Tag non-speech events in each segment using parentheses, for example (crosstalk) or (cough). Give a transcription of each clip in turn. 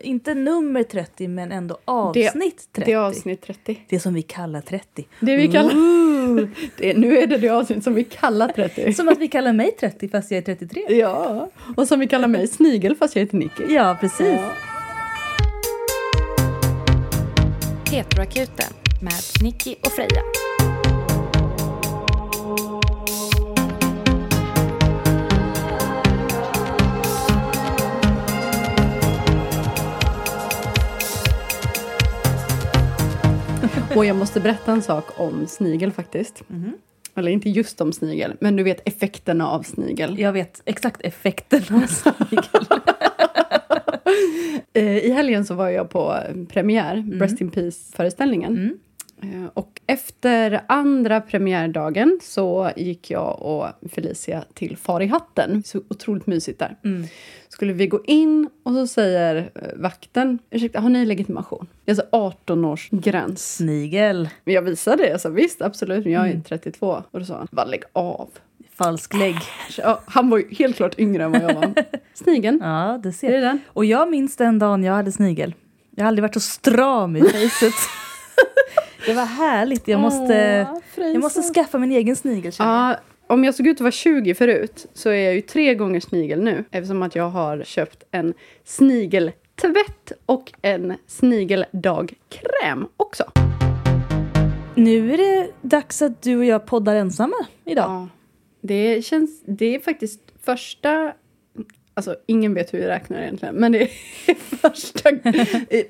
inte nummer 30, men ändå avsnitt 30. Det är avsnitt 30. Det som vi kallar Mm. 30. Det vi kallar, (laughs) det, nu är det det avsnitt som vi kallar 30. Som att vi kallar mig 30 fast jag är 33. Ja, och som vi kallar mig Snigel fast jag heter Nicky. Ja, precis. Ja. Petroakuten med Nicky och Freja. Och jag måste berätta en sak om Snigel faktiskt. Mm-hmm. Eller inte just om Snigel, men du vet effekterna av Snigel. Jag vet exakt effekten av (laughs) snigel. Eh, I helgen så var jag på premiär, Breast in Peace-föreställningen. Mm. Eh, Och efter andra premiärdagen så gick jag och Felicia till Far i hatten. Så otroligt mysigt där. Mm. Skulle vi gå in och så säger eh, vakten, ursäkta har ni legitimation? Jag sa 18 års gräns. Mm. Snigel. Men jag visade det, jag sa visst absolut, men jag Mm. är 32. Och då sa han, bara lägg av. Falsklägg. Ja, han var ju helt klart yngre än vad (laughs) jag var. Snigeln, Ja, det ser är det den? Och jag minns den dagen jag hade snigel. Jag har aldrig varit så (laughs) stram i fejset. det var härligt. Jag måste, jag måste skaffa min egen snigel. känner jag. Ja, om jag såg ut att vara 20 förut så är jag ju tre gånger snigel nu eftersom att jag har köpt en snigeltvätt och en snigeldagkräm också. Nu är det dags att du och jag poddar ensamma idag. Ja. Det känns, det är faktiskt första, alltså ingen vet hur jag räknar egentligen, men det är (laughs) första, eh,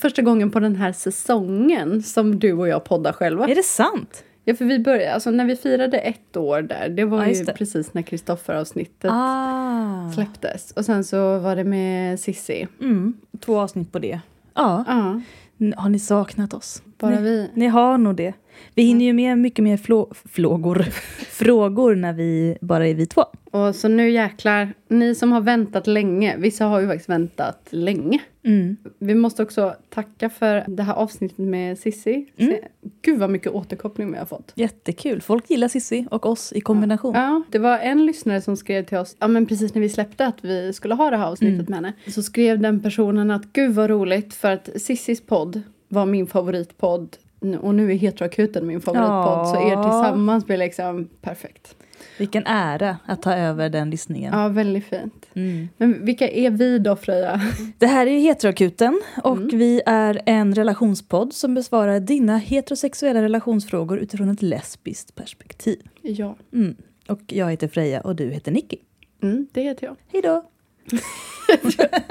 första gången på den här säsongen som du och jag poddar själva. Är det sant? Ja, för vi började, alltså när vi firade ett år där, det var Ja, ju just det. precis när Kristoffer-avsnittet Ah. släpptes. Och sen så var det med Sissi. Mm, två avsnitt på det. Ja. Ja, N- Har ni saknat oss? bara ni, vi. ni har nog det. Vi hinner ju med mycket mer flå, flågor, (laughs) frågor när vi bara är vi två. Och så nu jäklar, ni som har väntat länge, vissa har ju faktiskt väntat länge. Mm. Vi måste också tacka för det här avsnittet med Sissi. Mm. Gud vad mycket återkoppling vi har fått. Jättekul. Folk gillar Sissi och oss i kombination. Ja, det var en lyssnare som skrev till oss, ja men precis när vi släppte att vi skulle ha det här avsnittet Mm. med henne. Så skrev den personen att gud vad roligt för att Sissis podd var min favoritpodd nu- och nu är Heteroakuten min favoritpodd så er Ja. tillsammans blir liksom perfekt. Vilken ära att ta över den lyssningen. Ja, väldigt fint. Mm. Men vilka är vi då Freja? Det här är ju Heteroakuten och vi är en relationspodd som besvarar dina heterosexuella relationsfrågor utifrån ett lesbiskt perspektiv. Ja, Mm. Och jag heter Freja och du heter Nicky. mm, det (laughs) heter jag. Hej då!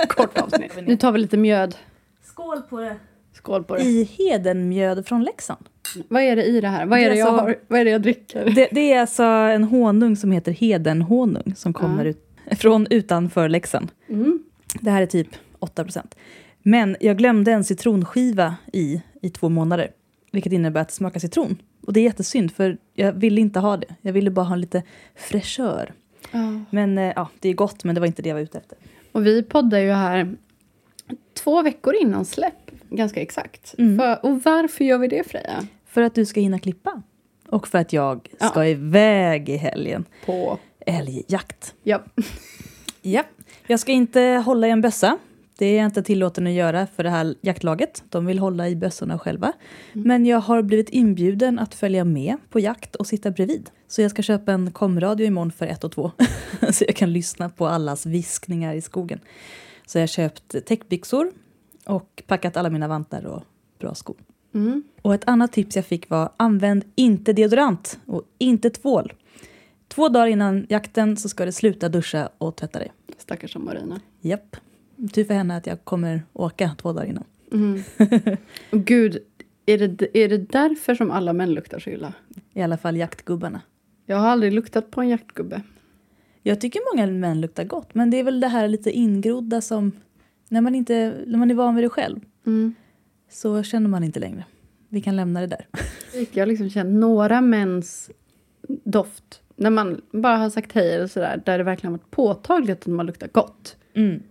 Kort avsnitt. nu tar vi lite mjöd. Skål på det! Skål på det. I Hedenmjöd från Leksand. Vad är det i det här? Vad är Det det, är jag, så- har, vad är det jag dricker? Det, det är alltså en honung som heter Hedenhonung som kommer ut, från utanför Leksand. Mm. Det här är typ 8 Men jag glömde en citronskiva i, i två månader. Vilket innebär att det smakar citron. Och det är jättesynd för jag ville inte ha det. Jag ville bara ha lite fräschör. Ja. Men eh, ja, det är gott men det var inte det jag var ute efter. Och vi poddar ju här två veckor innan släpp, ganska exakt. Mm. För, och varför gör vi det Freja? För att du ska hinna klippa. Och för att jag Ja. ska iväg i helgen. På... Älgjakt. Ja. (laughs) Ja. Jag ska inte hålla i en bössa. Det är jag inte tillåten att göra för det här jaktlaget. De vill hålla i bössorna själva. Men jag har blivit inbjuden att följa med på jakt och sitta bredvid. Så jag ska köpa en komradio imorgon för ett och två. (laughs) så jag kan lyssna på allas viskningar i skogen. Så jag har köpt täckbyxor och packat alla mina vantar och bra skor. Mm. Och ett annat tips jag fick var använd inte deodorant och inte tvål. Två dagar innan jakten så ska du sluta duscha och tvätta dig. Stackars som Marina. Japp. Tur för henne att jag kommer åka två dagar innan. Mm. (laughs) och gud, är det, är det därför som alla män luktar så illa? I alla fall jaktgubbarna. Jag har aldrig luktat på en jaktgubbe. Jag tycker många män luktar gott men det är väl det här lite ingrodda som när man, inte, när man är van vid det själv Mm. så så känner man inte längre. Vi kan lämna det där. Jag har liksom känt några mäns doft. När man bara har sagt hej eller sådär, där det verkligen har varit påtagligt att man luktar gott. Mm.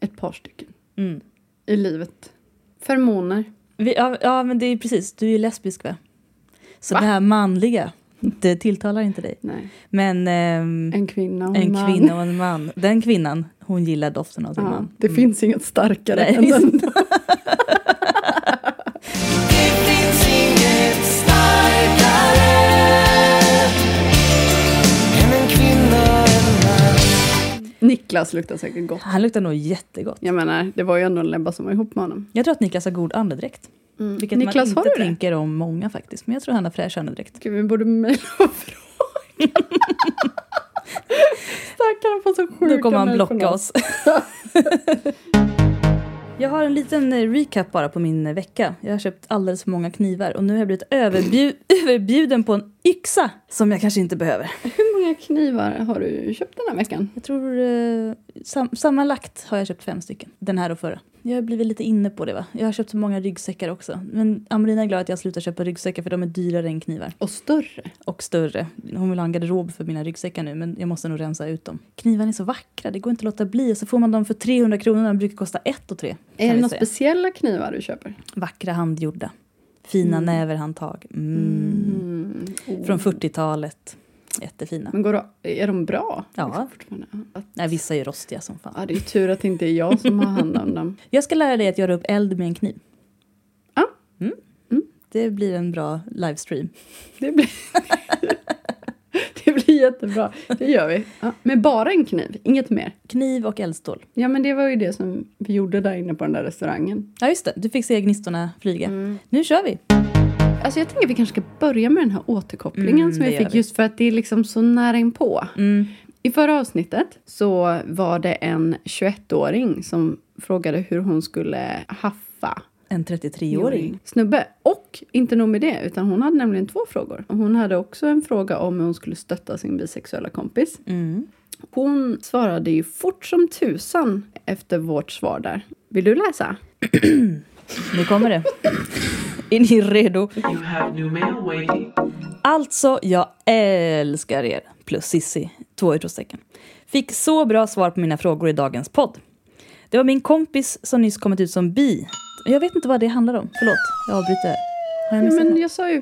Ett par stycken. Mm. I livet. Feromoner. Vi, ja, ja men det är precis, du är ju lesbisk va? Så Va? det här manliga, Det tilltalar inte dig. Nej. Men ehm, En kvinna och en, en man. kvinna och en man. Den kvinnan, hon gillar doften av sin Ja, man. Mm. det finns inget starkare Nej, än (laughs) den. Niklas luktar säkert gott. Han luktar nog jättegott. Jag menar, det var ju ändå en läbba som var ihop med honom. Mm. Jag tror att Niklas har god andedräkt. Mm. Vilket Niklas, man har inte du det? tänker om många faktiskt. Men jag tror han har fräsch andedräkt. Gud, vi borde mejla och fråga. (laughs) Stackarn får så sjuka Nu kommer han mejl från blocka oss. (laughs) jag har en liten eh, recap bara på min eh, vecka. Jag har köpt alldeles för många knivar och nu har jag blivit överbju- (clears throat) överbjuden på en yxa som jag kanske inte behöver. Hur många knivar har du köpt den här veckan? Jag tror eh, sam- sammanlagt har jag köpt fem stycken. Den här och förra. Jag har blivit lite inne på det va. Jag har köpt så många ryggsäckar också. Men Amrina är glad att jag slutar köpa ryggsäckar för de är dyrare än knivar. Och större. Och större. Hon vill ha en garderob för mina ryggsäckar nu men jag måste nog rensa ut dem. Knivarna är så vackra, det går inte att låta bli. Och så får man dem för 300 kronor, de brukar kosta 1 och 3. Är det några speciella knivar du köper? Vackra handgjorda. Fina Mm. näverhandtag. Mm. Oh. Från 40-talet. Jättefina. Men går det, är de bra? Ja. Liksom fortfarande? Ja. Att- Nej, vissa är ju rostiga som fan. Ja, det är tur att det inte är jag som har hand om dem. Jag ska lära dig att göra upp eld med en kniv. Ja. Mm. Mm. Det blir en bra livestream. Det blir, (laughs) det blir jättebra. Det gör vi. Ja, men bara en kniv, inget mer. Kniv och eldstål. Ja, men det var ju det som vi gjorde där inne på den där restaurangen. Mm. Ja, just det. Du fick se gnistorna flyga. Nu kör vi! Alltså jag tänker att vi kanske ska börja med den här återkopplingen Mm, som det vi gör fick vi. just för att det är liksom så nära inpå. Mm. I förra avsnittet så var det en 21-åring som frågade hur hon skulle haffa En 33-åring. snubbe. Och inte nog med det, utan hon hade nämligen två frågor. Hon hade också en fråga om hur hon skulle stötta sin bisexuella kompis. Mm. Hon svarade ju fort som tusan efter vårt svar där. Vill du läsa? Nu kommer det. Är ni redo? You have new mail waiting. Alltså, jag älskar er! Plus Sissi, två utropstecken. Fick så bra svar på mina frågor i dagens podd. Det var min kompis som nyss kommit ut som bi. Jag vet inte vad det handlar om. Förlåt, jag avbryter. här. Har jag Ja, missat något? men jag sa ju,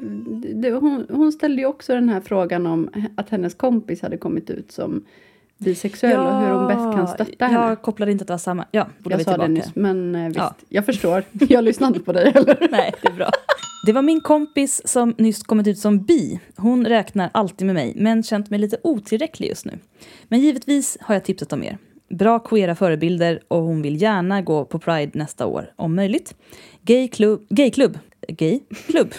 det, hon, hon ställde ju också den här frågan om att hennes kompis hade kommit ut som bisexuell och hur hon bäst kan stötta henne. Jag kopplade inte att det var samma. Ja, borde Jag vi sa tillbaka. det nyss, men eh, visst. Ja. Jag förstår. Jag lyssnade inte på dig (laughs) heller. Nej, det är bra. (laughs) Det var min kompis som nyss kommit ut som bi. Hon räknar alltid med mig, men känt mig lite otillräcklig just nu. Men givetvis har jag tipsat om er. Bra queera förebilder och hon vill gärna gå på Pride nästa år, om möjligt. Gayklubb... Gayklubb? (laughs) Gayklubb?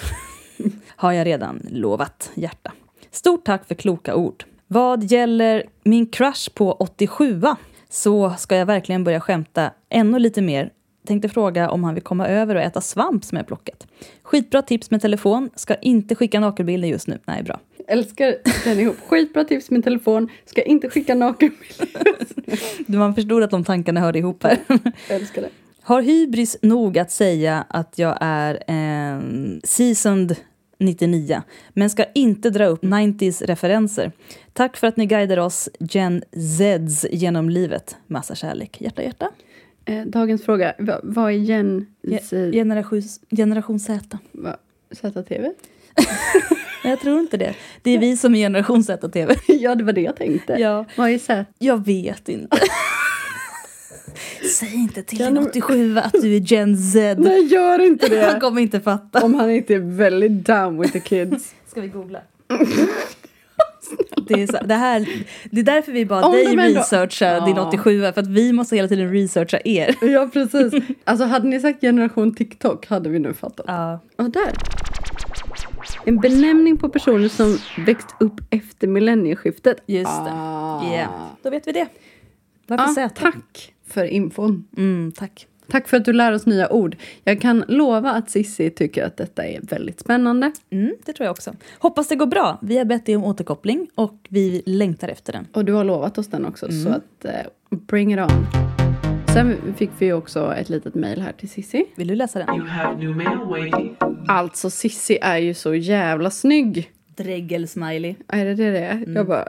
har jag redan lovat, hjärta. Stort tack för kloka ord. Vad gäller min crush på 87 så ska jag verkligen börja skämta ännu lite mer. Tänkte fråga om han vill komma över och äta svamp som jag plockat. Skitbra tips med telefon. Ska inte skicka nakenbilder just nu. Nej, bra. Älskar den ihop. Skitbra tips med telefon. Ska inte skicka nakenbilder. Man förstod att de tankarna hörde ihop här. (laughs) Älskar det. Har hybris nog att säga att jag är en seasoned 99 men ska inte dra upp 90s referenser. Tack för att ni guidar oss Gen Zs genom livet. Massa kärlek. Hjärta, hjärta. Eh, dagens fråga. Va, vad är Jen Ge- i Generation, generation Z. va, ZTV? Nej, Jag tror inte det. Det är vi som är generation Z-tv. (laughs) ja, det var det jag tänkte. Ja, Vad är Z? jag vet inte. (laughs) Säg inte till Kan en de- 87 att du är Gen (laughs) Z. Nej, gör inte (laughs) Han det! kommer inte fatta. Om han inte är väldigt down with the kids. Ska vi googla? Det är, så, det, här, det är därför vi bad Om dig de ändå- researcha din Ja. 87 för att vi måste hela tiden researcha er. (laughs) ja, precis. (laughs) Alltså, hade ni sagt generation TikTok hade vi nu fattat. Ja. Ja, där. En benämning på personer som växt upp efter millennieskiftet. Just det. Ah. Då vet vi det. Varför Ja, Z? Ah, tack för infon. Mm, tack. Tack för att du lär oss nya ord. Jag kan lova att Sissi tycker att detta är väldigt spännande. Mm, det tror jag också. Hoppas det går bra. Vi har bett dig om återkoppling och vi längtar efter den. Och du har lovat oss den också, så att eh, bring it on. Sen fick vi ju också ett litet mejl här till Sissi. Vill du läsa den? You have new mail waiting. Alltså Sissi är ju så jävla snygg. Dregel-smiley. Är det det det är? Jag bara...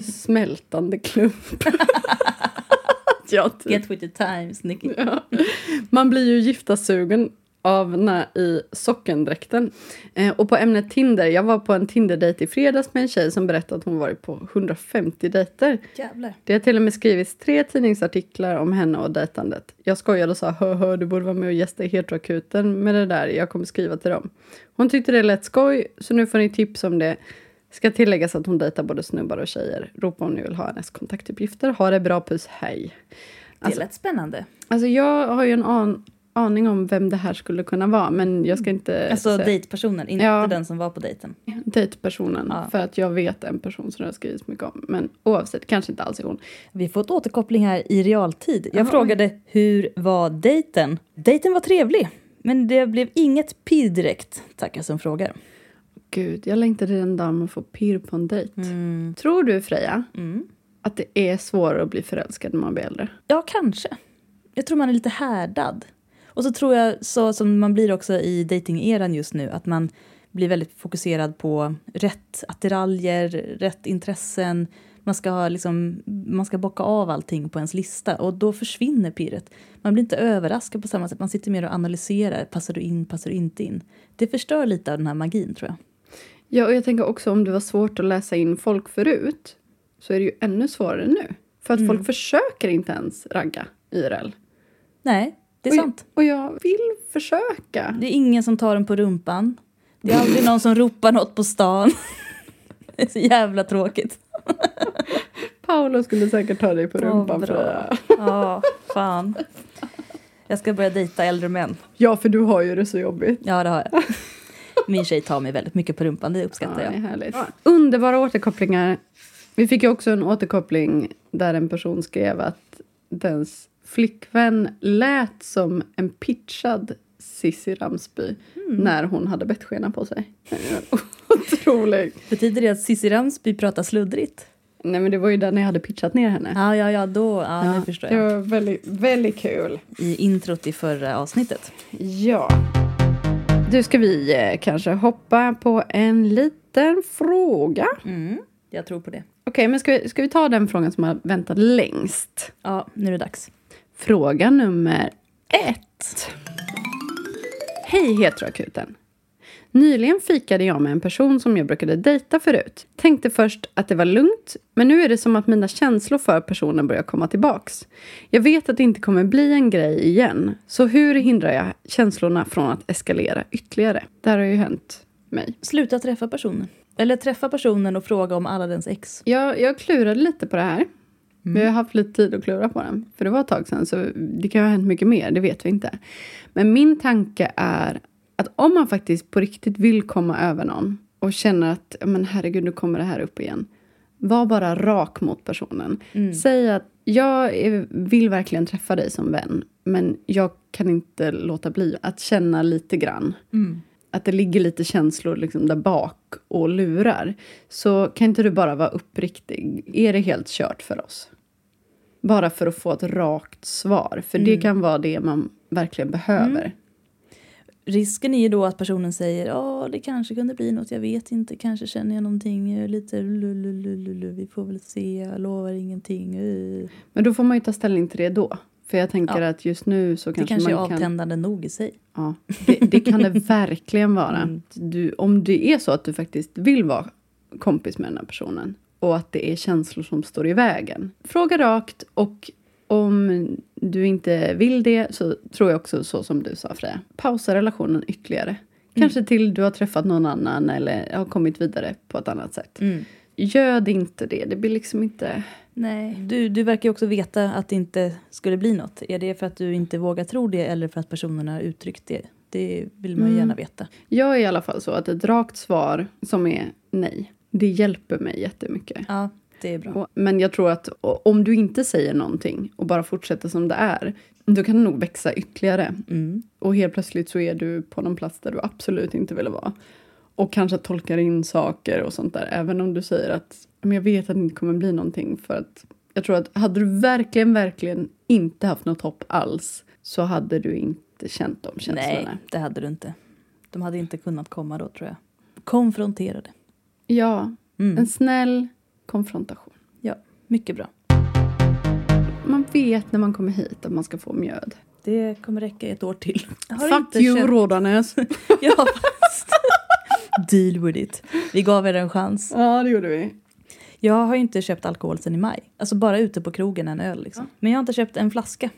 smältande klump. ja, typ. typ. Get with the times, Nicky. Man blir ju gifta sugen avna i sockendräkten. Eh, och på ämnet Tinder, jag var på en Tinder-dejt i fredags med en tjej som berättade att hon varit på 150 dejter. Jävlar. Det har till och med skrivits tre tidningsartiklar om henne och dejtandet. Jag skojade och sa hö hö, du borde vara med och gästa heteroakuten med det där, jag kommer skriva till dem. Hon tyckte det lät skoj, så nu får ni tips om det. Ska tilläggas att hon dejtar både snubbar och tjejer. Ropa om ni vill ha hennes kontaktuppgifter. Ha det bra, puss, hej. Det lät spännande. Alltså jag har ju en an- aning om vem det här skulle kunna vara, men jag ska inte Alltså säga dejtpersonen, inte Ja. den som var på dejten. dejtpersonen, Ja. för att jag vet en person som det har skrivits mycket om. Men oavsett, kanske inte alls är hon. Vi får ett återkoppling här i realtid. Jag Ja. frågade hur var dejten? Dejten var trevlig, men det blev inget pirr direkt. Tackar som frågar. Gud, jag längtade till den dagen man får pirr på en dejt. Tror du, Freja, Mm. att det är svårare att bli förälskad när man blir äldre? Ja, kanske. Jag tror man är lite härdad. Och så tror jag, så som man blir också i datingeran just nu, att man blir väldigt fokuserad på rätt attiraljer, rätt intressen. Man ska, ha liksom, man ska bocka av allting på ens lista och då försvinner pirret. Man blir inte överraskad på samma sätt, man sitter mer och analyserar. Passar du in, passar du inte in? Det förstör lite av den här magin tror jag. Ja, och jag tänker också om det var svårt att läsa in folk förut så är det ju ännu svårare nu. För att folk försöker inte ens ragga IRL. Nej, det är och, sant. Och jag vill försöka. Det är ingen som tar den på rumpan. Det är aldrig någon som ropar något på stan. (laughs) Det är så jävla tråkigt. Paolo skulle säkert ta dig på Åh, rumpan, bra. Freja. Ja, fan. Jag ska börja dejta äldre män. Ja, för du har ju det så jobbigt. Ja, det har jag. Min tjej tar mig väldigt mycket på rumpan, det Ja, uppskattar det är jag. härligt. Underbara återkopplingar. Vi fick ju också en återkoppling där en person skrev att dens flickvän lät som en pitchad Sissi Ramsby när hon hade bettskena på sig. Eh, Otroligt! Betyder det att Cissi Ramsby pratar sluddrigt? Nej men det var ju där när jag hade pitchat ner henne. Ja, ja, ja, då, ja, nu förstår Det jag. var väldigt, väldigt kul. I introt i förra avsnittet. Ja. Du, ska vi eh, kanske hoppa på en liten fråga? Mm, jag tror på det. Okej, men ska vi, ska vi ta den frågan som har väntat längst? Ja, nu är det dags. Fråga nummer ett. Hej heteroakuten. Nyligen fikade jag med en person som jag brukade dejta förut. Tänkte först att det var lugnt, men nu är det som att mina känslor för personen börjar komma tillbaks. Jag vet att det inte kommer bli en grej igen, så hur hindrar jag känslorna från att eskalera ytterligare? Det här har ju hänt mig. Sluta träffa personen. Eller träffa personen och fråga om alla dens ex. Jag, jag klurade lite på det här. Vi har haft lite tid att klura på den. För det var ett tag sedan, så det kan ju ha hänt mycket mer, det vet vi inte. Men min tanke är att om man faktiskt på riktigt vill komma över någon och känner att "Ja, men herregud, nu kommer det här upp igen. Var bara rak mot personen. Mm. Säg att jag är- vill verkligen träffa dig som vän men jag kan inte låta bli att känna lite grann Mm. att det ligger lite känslor liksom där bak och lurar. Så kan inte du bara vara uppriktig? Är det helt kört för oss? Bara för att få ett rakt svar, för Mm. det kan vara det man verkligen behöver. Risken är ju då att personen säger ja det kanske kunde bli något, jag vet inte, kanske känner jag någonting, eh, lite lululululu, vi får väl se, jag lovar ingenting. eh." Men då får man ju ta ställning till det då. För jag tänker Ja. att just nu så Det kanske, kanske är man kan... avtändande nog i sig. Ja, det, det kan det verkligen vara. Du, om det är så att du faktiskt vill vara kompis med den här personen och att det är känslor som står i vägen. Fråga rakt och om du inte vill det så tror jag också så som du sa Freja. Pausa relationen ytterligare. Kanske till du har träffat någon annan eller har kommit vidare på ett annat sätt. Mm. Göd inte det, det blir liksom inte... Nej. Du, du verkar ju också veta att det inte skulle bli något. Är det för att du inte vågar tro det eller för att personen har uttryckt det? Det vill Mm. man ju gärna veta. Jag är i alla fall så att ett rakt svar som är nej, det hjälper mig jättemycket. Ja, det är bra. Och, men jag tror att o- om du inte säger någonting och bara fortsätter som det är, då kan det nog växa ytterligare. Mm. Och helt plötsligt så är du på någon plats där du absolut inte ville vara. Och kanske tolkar in saker och sånt där, även om du säger att men jag vet att det inte kommer bli någonting för att jag tror att hade du verkligen, verkligen inte haft något hopp alls så hade du inte känt de känslorna. Nej, det hade du inte. De hade inte kunnat komma då tror jag. Konfronterade. Ja, Mm. en snäll konfrontation. Ja, mycket bra. Man vet när man kommer hit att man ska få mjöd. Det kommer räcka ett år till. Jag har Fuck inte you känt- Rådanäs. (laughs) Ja, fast. Deal with it. Vi gav er en chans. ja, det gjorde vi. Jag har ju inte köpt alkohol sen i maj. Alltså bara ute på krogen en öl liksom. Men jag har inte köpt en flaska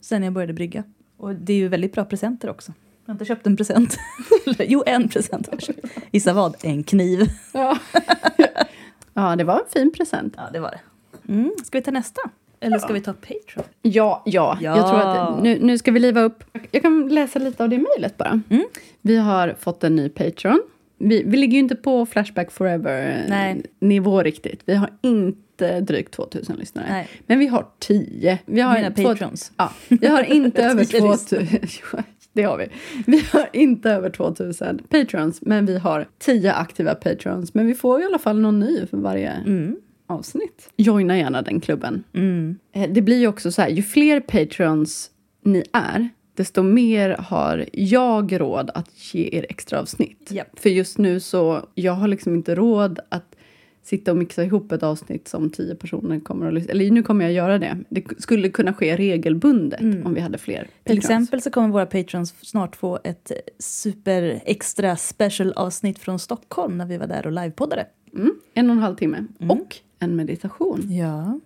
sen jag började brygga. Och det är ju väldigt bra presenter också. Jag har inte köpt en present. (laughs) Eller, jo, en present har jag köpt. Gissa vad? En kniv. (laughs) Ja. ja, det var en fin present. Ja, det var det. Mm. Ska vi ta nästa? Eller ska vi ta Patreon? Ja, ja. Ja. Jag tror att nu, nu ska vi liva upp. Jag kan läsa lite av det mejlet bara. Mm. Vi har fått en ny Patreon. Vi, vi ligger ju inte på Flashback Nej. Forever-nivå riktigt. Vi har inte drygt 2000 lyssnare. Nej. Men vi har 10. Vi har Mina två- patrons. Ja, vi har (laughs) inte över Tio (laughs) 2000. Det har vi. Vi har inte över 2000 patrons, men vi har 10 aktiva patrons. Men vi får i alla fall någon ny för varje Mm. avsnitt. Joina gärna den klubben. Mm. Eh, Det blir ju också så här, ju fler patrons ni är, desto mer har jag råd att ge er extra avsnitt. Japp. För just nu så, jag har liksom inte råd att sitta och mixa ihop ett avsnitt som tio personer kommer att lyssna Eller nu kommer jag göra det. Det k- skulle kunna ske regelbundet om vi hade fler Mm. Till patrons. exempel så kommer våra patrons snart få ett super extra special avsnitt från Stockholm när vi var där och livepoddade. Mm, en och en halv timme. Mm. Och en meditation. Ja.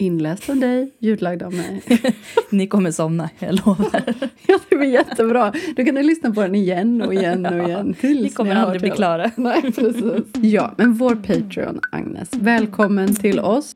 Inläst av dig, ljudlagd av mig. (laughs) Ni kommer somna, jag lovar. Ja, det blir jättebra. Då kan du lyssna på den igen och igen och igen. Tills Ni kommer har aldrig bli hört klara. (laughs) hela. (laughs) Nej, precis. Ja, men vår Patreon, Agnes. Välkommen till oss.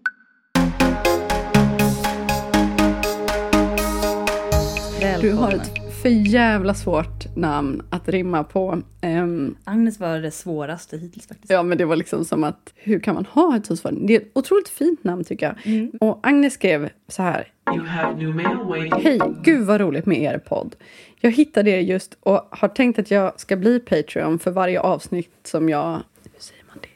Du har ett för jävla svårt namn att rimma på. Ehm, Agnes var det svåraste hittills faktiskt. ja, men det var liksom som att hur kan man ha ett så svårt namn? Det är ett otroligt fint namn tycker jag. Mm. Och Agnes skrev så här. You have new mail waiting. Hej! Gud vad roligt med er podd. Jag hittade er just och har tänkt att jag ska bli Patreon för varje avsnitt som jag... Hur säger man det?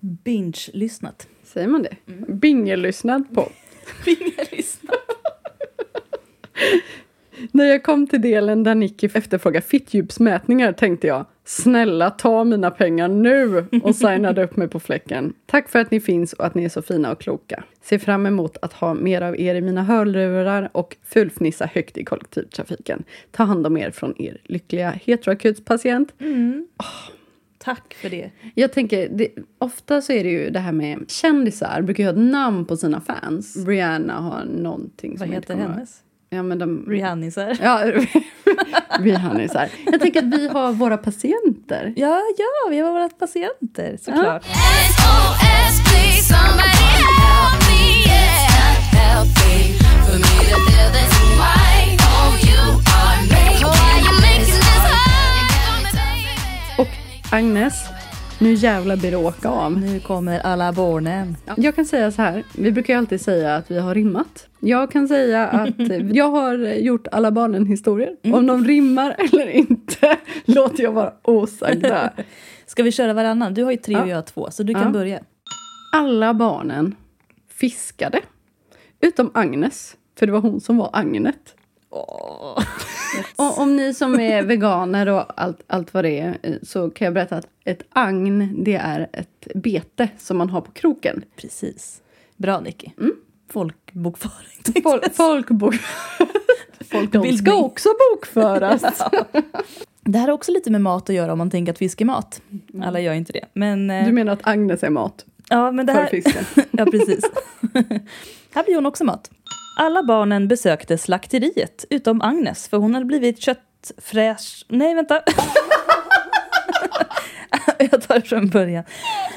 Binge-lyssnat. Säger man det? Bingelyssnad på. (laughs) Binge-lyssnat. När jag kom till delen där Nicky efterfrågar fittdjupsmätningar tänkte jag Snälla ta mina pengar nu! Och signade upp mig på fläcken. Tack för att ni finns och att ni är så fina och kloka. Ser fram emot att ha mer av er i mina hörlurar och fulfnissa högt i kollektivtrafiken. Ta hand om er från er lyckliga heteroakutspatient. Mm. Tack för det. Jag tänker, det, ofta så är det ju det här med kändisar brukar ju ha ett namn på sina fans. Rihanna har någonting Vad som jag inte heter kommer ihåg. hennes? Ja, men de... Rihannisar? Ja, (laughs) Rihannisar. Jag tänker att vi har våra patienter. Ja, ja, vi har varit patienter såklart. SOS, please, somebody help me. It's not healthy for me to feel this way. Oh, you are making Why you making this hard? Och Agnes, nu jävlar blir det åka av. Nu kommer alla barnen. Jag kan säga så här, vi brukar ju alltid säga att vi har rimmat. Jag kan säga att jag har gjort alla barnen historier. Om de rimmar eller inte (laughs) låter jag vara osagda. Ska vi köra varannan? Du har ju tre Ja. och jag har två, så du Ja. kan börja. alla barnen fiskade. Utom Agnes, för det var hon som var Agnet. Åh. Och om ni som (laughs) är veganer och allt, allt vad det är eh, så kan jag berätta att ett agn det är ett bete som man har på kroken. Precis. Bra, Nicky. Folkbokföring. tänkte Fol jag säga. Mm. folk bok- folk de ska Bildning. också bokföras. (laughs) Det här har också lite med mat att göra om man tänker att fisk är mat. Alla gör inte det. Men, eh, (laughs) Mm. Du menar att Agnes är mat ja, men det för här... fisken? (laughs) Ja, precis. här blir hon också mat. Alla barnen besökte slakteriet, utom Agnes, för hon hade blivit köttfräs... Nej, vänta. (laughs) Jag tar det från början.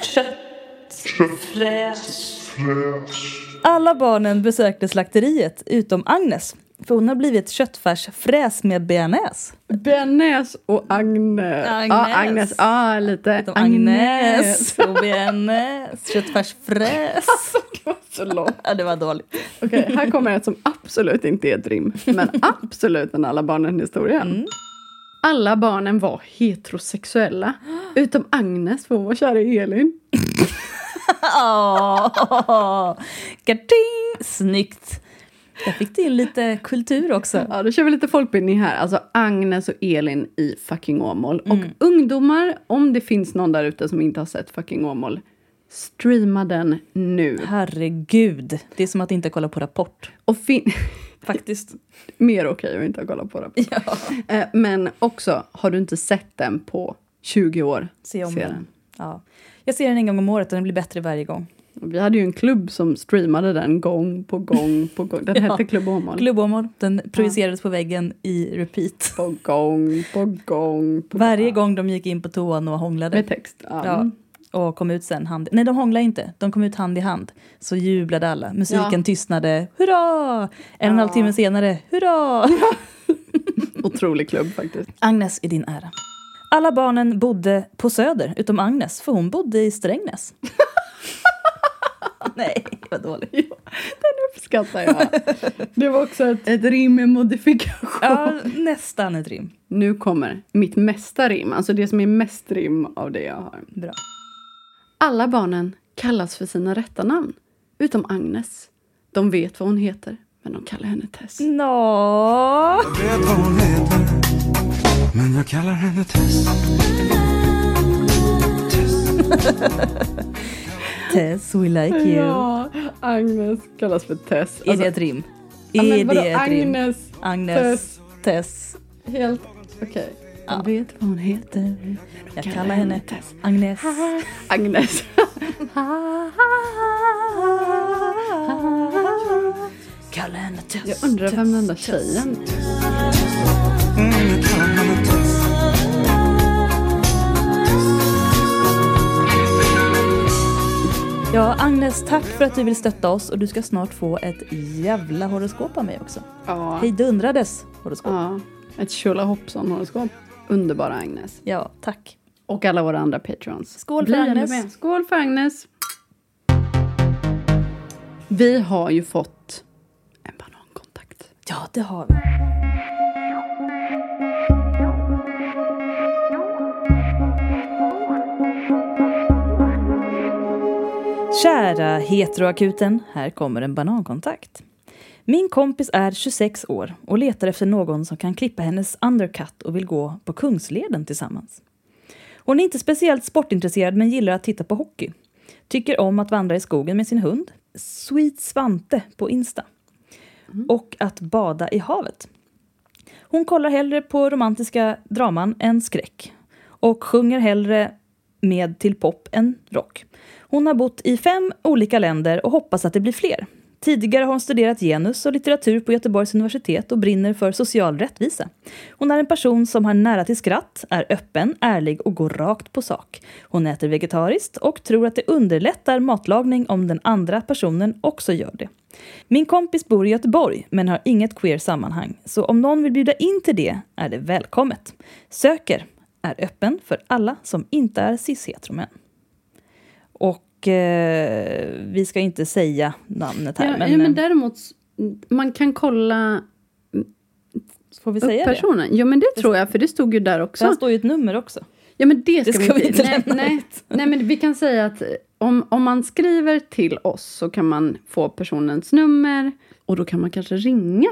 Köttfräs... Alla barnen besökte slakteriet, utom Agnes, för hon har blivit köttfärsfräs med bearnaise. Benäs och Agne. Agnes. Ja, Agnes. Ja, lite. Utom Agnes och bearnaise. Köttfärsfräs. Det var så långt. Ja, det var dåligt. Okej, här kommer ett som absolut inte är ett rim, (laughs) men absolut en alla barnen-historia. Alla barnen var heterosexuella, utom Agnes för hon var kär i Elin. Åh, Karting! Snyggt! Jag fick till lite kultur också. Ja, då kör vi lite folkbildning här. Alltså Agnes och Elin i fucking Åmål. Mm. Och ungdomar, om det finns någon där ute som inte har sett fucking Åmål, streama den nu. Herregud, det är som att inte kolla på Rapport. Och fin- (laughs) Faktiskt. Mer okej att inte ha kollat på den. Ja. Eh, Men också, har du inte sett den på 20 år? Se om se den. Ja. Jag ser den en gång om året och den blir bättre varje gång. Och Vi hade ju en klubb som streamade den gång på gång på gång. (laughs) Den Ja. hette Klubb Åmål. Klubbomor, den projicerades på väggen i repeat. På gång, på gång, på Varje gång de gick in på toan och hånglade. Med text. Ja. Ja. Och kom ut sen hand... Nej, de hånglade inte. De kom ut hand i hand. Så jublade alla. Musiken Ja. tystnade. Hurra! En och en halv timme senare. Hurra! Otrolig klubb faktiskt. Agnes i din ära. Alla barnen bodde på Söder, utom Agnes, för hon bodde i (laughs) Strängnäs. Nej, vad dåligt. Uppskattar jag. (laughs) Det var också ett, ett rim med modifikation. Ja, nästan ett rim. Nu kommer mitt mesta rim, alltså det som är mest rim av det jag har. Bra. Alla barnen kallas för sina rätta namn, utom Agnes. De vet vad hon heter, men de kallar henne Tess. Nå. vet vad hon heter Men jag kallar henne Tess Tess, we like you. Ja, Agnes kallas för Tess. Alltså, Är det ett rim? ja, är men vadå, det ett rim? Agnes, Agnes, Tess. helt... Okej. Ja. De vet vad hon heter. Jag kallar henne Tess. Agnes. Agnes. Kallar henne Tess. Jag undrar vem den där tjejen mm, Jag kallar henne Tess Ja, Agnes, tack för att du vill stötta oss och du ska snart få ett jävla horoskop av mig också. Ja. Hejdundrades horoskop. ja. Ett Tjolahoppson-horoskop. Underbara Agnes. Ja, tack. Och alla våra andra patrons. Skål för Vi är ändå Agnes. med. Skål för Agnes. Vi har ju fått en banankontakt. Ja, det har vi. Kära heteroakuten, här kommer en banankontakt. Min kompis är 26 år och letar efter någon som kan klippa hennes undercut och vill gå på Kungsleden tillsammans. Hon är inte speciellt sportintresserad men gillar att titta på hockey. Tycker om att vandra i skogen med sin hund, Sweet Svante på Insta, och att bada i havet. Hon kollar hellre på romantiska draman än skräck och sjunger hellre med till pop än rock. Hon har bott i fem olika länder och hoppas att det blir fler. Tidigare har hon studerat genus och litteratur på Göteborgs universitet och brinner för social rättvisa. Hon är en person som har nära till skratt, är öppen, ärlig och går rakt på sak. Hon äter vegetariskt och tror att det underlättar matlagning om den andra personen också gör det. Min kompis bor i Göteborg men har inget queer sammanhang, så om någon vill bjuda in till det är det välkommet. Söker är öppen för alla som inte är cis-heteromän. Och eh, vi ska inte säga namnet här, ja, men, ja, men eh, däremot, s- man kan kolla får vi upp säga det? personen. Ja, men det tror jag, för det stod ju där Där också. står ju ett nummer också. Ja, men det ska, Det ska vi inte nej, lämna nej, nej, men vi kan säga att eh, om, om man skriver till oss så kan man få personens nummer och då kan man kanske ringa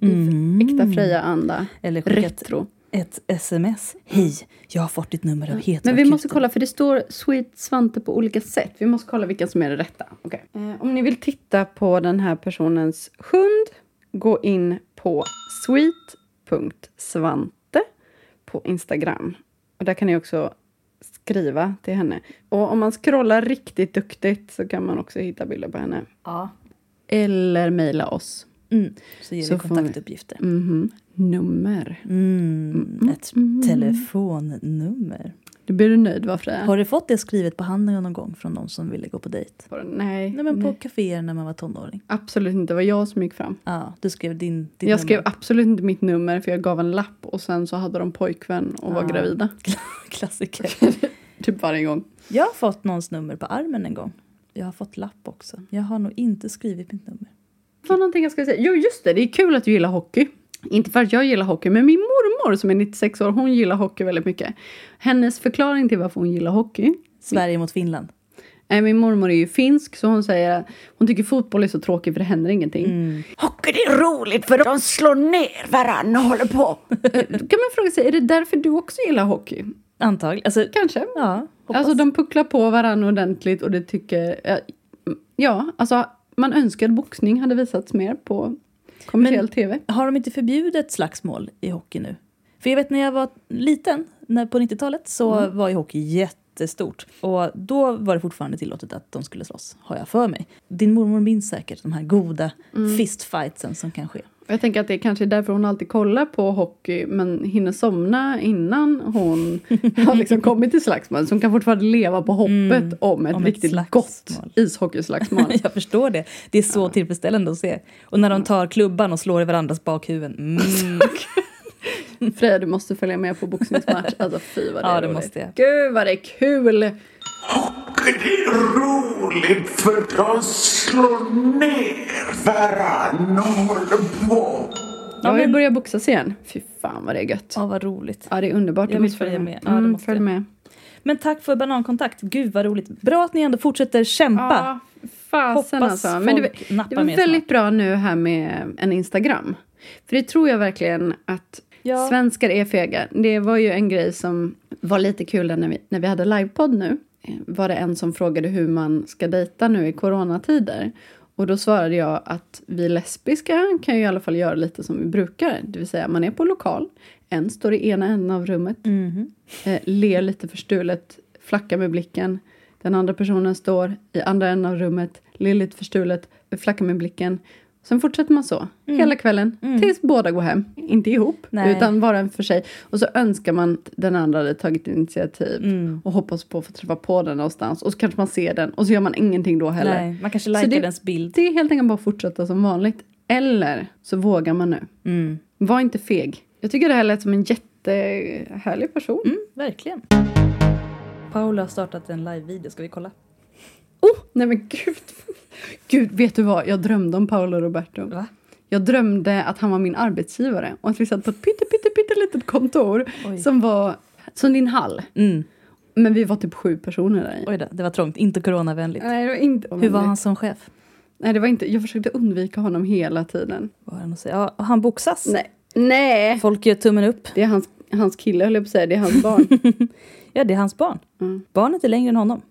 i Mm. äkta Freja-anda. Mm. Eller skicka ett, Retro. ett sms. Hej, jag har fått ditt nummer av Men heteroakuten. vi måste kolla, för det står Sweet Svante på olika sätt. Vi måste kolla vilken som är det rätta. Okej. Eh, om ni vill titta på den här personens hund, gå in på sweet.svante på Instagram. Och där kan ni också skriva till henne. Och om man scrollar riktigt duktigt så kan man också hitta bilder på henne. Ja. Eller mejla oss. Mm. Så ger Så vi får vi- kontaktuppgifter. Mhm. Nummer. Mm. Ett telefonnummer. Det blir du nöjd va, Freja? Har du fått det skrivet på handen någon gång från någon som ville gå på dejt? Nej. Nej, men på kaféer när man var tonåring. Absolut inte. Det var jag som gick fram. Ja, du skrev din, ditt Jag skrev nummer. absolut inte mitt nummer för jag gav en lapp och sen så hade de pojkvän och var Ah. gravida. (laughs) Klassiker. Typ varje gång. Jag har fått någons nummer på armen en gång. Jag har fått lapp också. Jag har nog inte skrivit mitt nummer. Det var någonting jag skulle säga. Jo just det, det är kul att du gillar hockey. Inte för att jag gillar hockey, men min mormor som är 96 år, hon gillar hockey väldigt mycket. Hennes förklaring till varför hon gillar hockey Sverige mot Finland. Nej, min mormor är ju finsk så hon säger att hon tycker fotboll är så tråkigt för det händer ingenting. Hockey det är roligt för de slår ner varann och håller på. Eh, Då kan man fråga sig, är det därför du också gillar hockey? Antagligen. Alltså, Kanske? ja, hoppas. Alltså de pucklar på varandra ordentligt och det tycker... ja, Ja, alltså man önskar att boxning hade visats mer på Kommersiell tv. Har de inte förbjudit slagsmål i hockey nu? För jag vet när jag var liten, när, på 90-talet, så var ju hockey jättestort. Och då var det fortfarande tillåtet att de skulle slåss, har jag för mig. Din mormor minns säkert de här goda fistfightsen som kan ske. Och Jag tänker att det kanske är därför hon alltid kollar på hockey men hinner somna innan (laughs) hon har liksom kommit till slagsmål. Så hon kan fortfarande leva på hoppet Mm, om ett om ett riktigt slagsmål. gott (laughs) ishockeyslagsmål. (laughs) Jag förstår det. Det är så tillfredsställande att se. Och när de tar klubban och slår i varandras bakhuvuden. Mm. Freja, du måste följa med (laughs) på boxningsmatch. Alltså fy vad det Ja, är det roligt. måste jag. Gud vad det är kul! Det är roligt för de slår ner varandra och håller på. Jag vill börja boxas igen. Fy fan vad det är gött. Ja, vad roligt. Ja, det är underbart. Du Jag vill måste följa med. Ja, det Mm, måste följ jag. med. Men tack för banankontakt. Gud vad roligt. Bra att ni ändå fortsätter kämpa. Ja, fasen Hoppas alltså. Men det, folk var- nappar det var med väldigt bra nu här med eh, en Instagram. För det tror jag verkligen att Ja. svenskar är fega. Det var ju en grej som var lite kul där när vi, när vi hade livepodd nu. Eh, Var det en som frågade hur man ska dejta nu i coronatider. Och då svarade jag att vi lesbiska kan ju i alla fall göra lite som vi brukar. Det vill säga man är på lokal. En står i ena änden av rummet Mhm. eh, ler lite förstulet, flackar med blicken. Den andra personen står i andra änden av rummet, ler lite förstulet, flackar med blicken. Sen fortsätter man så hela kvällen tills båda går hem. Inte ihop, Nej. utan var och en för sig. Och så önskar man att den andra hade tagit initiativ och hoppas på att få träffa på den någonstans. Och så kanske man ser den och så gör man ingenting då heller. Nej, man kanske Så likar det- dens bild. Det är helt enkelt bara att fortsätta som vanligt. Eller så vågar man nu. Mm. Var inte feg. Jag tycker det här lät som en jättehärlig person. Mm. Verkligen. Paula har startat en live-video, ska vi kolla? Oh, nej men gud. Gud, vet du vad? Jag drömde om Paolo Roberto. Va? Jag drömde att han var min arbetsgivare och att vi satt på ett pytte, pytte, pytte litet kontor Oj. som var som din hall. Mm. Men vi var typ sju personer där i. Oj då, det var trångt. Inte coronavänligt. Nej, det var inte Hur var han som chef? Nej, det var inte. Jag försökte undvika honom hela tiden. Vad har han att säga? Ja, och han boxas. Nej. Nej! Folk gör tummen upp. Det är hans, hans kille, höll jag på att säga. Det är (laughs) hans barn. Ja, det är hans barn. Barnet är längre än honom.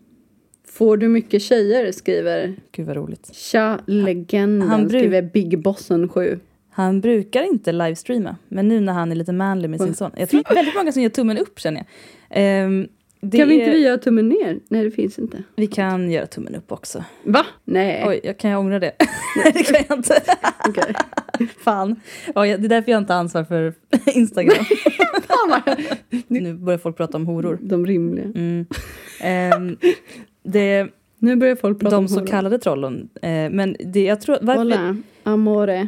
Får du mycket tjejer? skriver Gud vad roligt. Tja, legenden, Han bruk- skriver Big Bossen 7. Han brukar inte livestreama, men nu när han är lite manlig med sin son. Jag tror att väldigt många som gör tummen upp känner jag. Ehm, det Kan vi är- inte vi göra tummen ner? Nej, det finns inte. vi kan göra tummen upp också. Va? Nej. Oj, jag kan jag ångra det? Nej, (laughs) det kan jag inte. Okej. Fan. Ja, jag- det är därför jag inte har ansvar för (laughs) (laughs) Instagram. nu börjar folk prata om horor. De rimliga. Mm. Ehm, det, Nu börjar folk prata om de så horor. kallade trollen. Eh, men det, jag tror, varför, Hola, amore.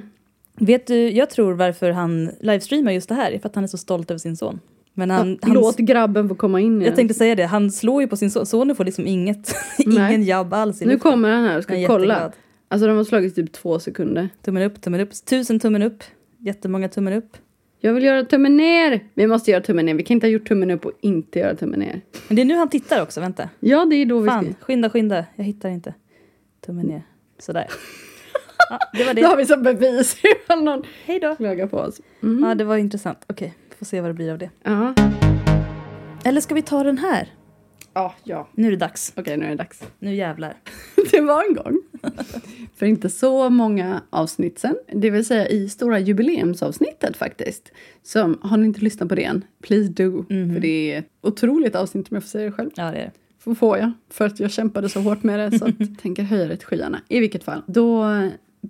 vet du, jag tror varför han livestreamar just det här är för att han är så stolt över sin son. Men han, Ja, han, Låt grabben få komma in igen. jag tänkte säga det, han slår ju på sin son. Sonen får liksom inget, ingen (laughs) Nej. jabb alls. i nu luften. kommer han här och Jag ska är kolla. jätteglad. Alltså de har slagit typ två sekunder. Tummen upp, tummen upp. Tusen tummen upp. Jättemånga tummen upp. Jag vill göra tummen ner! Vi måste göra tummen ner. Vi kan inte ha gjort tummen upp och inte göra tummen ner. Men det är nu han tittar också, vänta. Ja, det är då vi ska... Fan, skynda, skynda. Jag hittar inte. Tummen ner. Sådär. Ja, det var Då har det. vi som bevis (laughs) ifall någon Hej då. klagar på oss. Ja, det var intressant. Okej, får se vad det blir av det. Ja, Eller ska vi ta den här? ja. ja. Nu är det dags. Okej, nu är det dags. (laughs) Nu jävlar. Det var en gång. (laughs) För inte så många avsnitt sen. Det vill säga i stora jubileumsavsnittet faktiskt. Som, har ni inte lyssnat på det än? Please do. Mhm. För det är ett otroligt avsnitt om jag får säga det själv. Ja, det är det. F- Får jag. För att jag kämpade så hårt med det så att jag tänker höja det till skyarna. I vilket fall. Då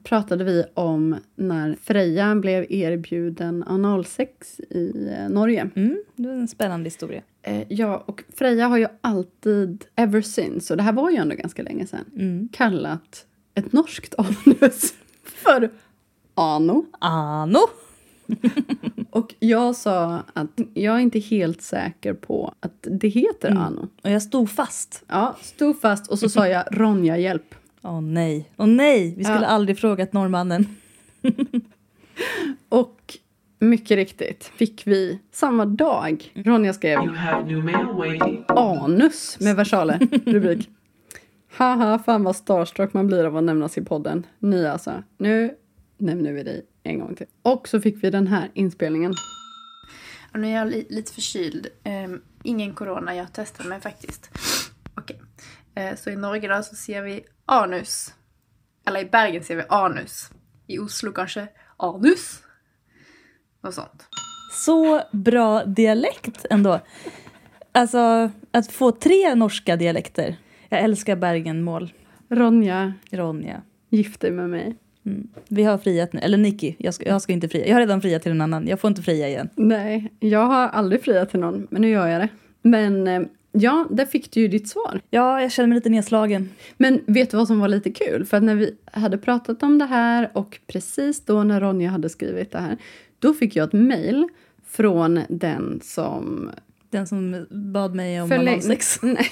pratade vi om när Freja blev erbjuden analsex i eh, Norge. Mm, det var en spännande historia. Eh, ja, och Freja har ju alltid, ever since, och det här var ju ändå ganska länge sedan, Mm. kallat ett norskt (laughs) anus för ano. Ano! Och jag sa att jag är inte helt säker på att det heter ano. Och jag stod fast. Ja, stod fast och så sa jag Ronja hjälp. Åh nej, åh nej! Vi skulle aldrig frågat norrmannen. Och mycket riktigt fick vi samma dag, Ronja skrev You have new mail waiting. anus med versaler rubrik. Haha, fan vad starstruck man blir av att nämnas i podden. Ni alltså, nu nämner vi dig en gång till. Och så fick vi den här inspelningen. Ja, Nu är jag li- lite förkyld. Ehm, ingen corona, jag testar mig faktiskt. Okej. Eh, så i Norge då så ser vi anus. Eller i Bergen ser vi anus. I Oslo kanske anus. Något sånt. Så bra dialekt ändå. Alltså, att få tre norska dialekter. Jag älskar Bergenmål, Ronja, Ronja. gift dig med mig. Vi har friat nu. Eller Nicky, jag ska, jag ska inte fria. Jag har redan friat till en annan. Jag får inte fria igen. Nej, jag har aldrig friat till någon, men nu gör jag det. Men eh, ja, där fick du ju ditt svar. Ja, jag känner mig lite nedslagen. Men vet du vad som var lite kul? För att när vi hade pratat om det här och precis då när Ronja hade skrivit det här, då fick jag ett mejl från den som... Den som bad mig om förlä- analsex. (laughs) Nej.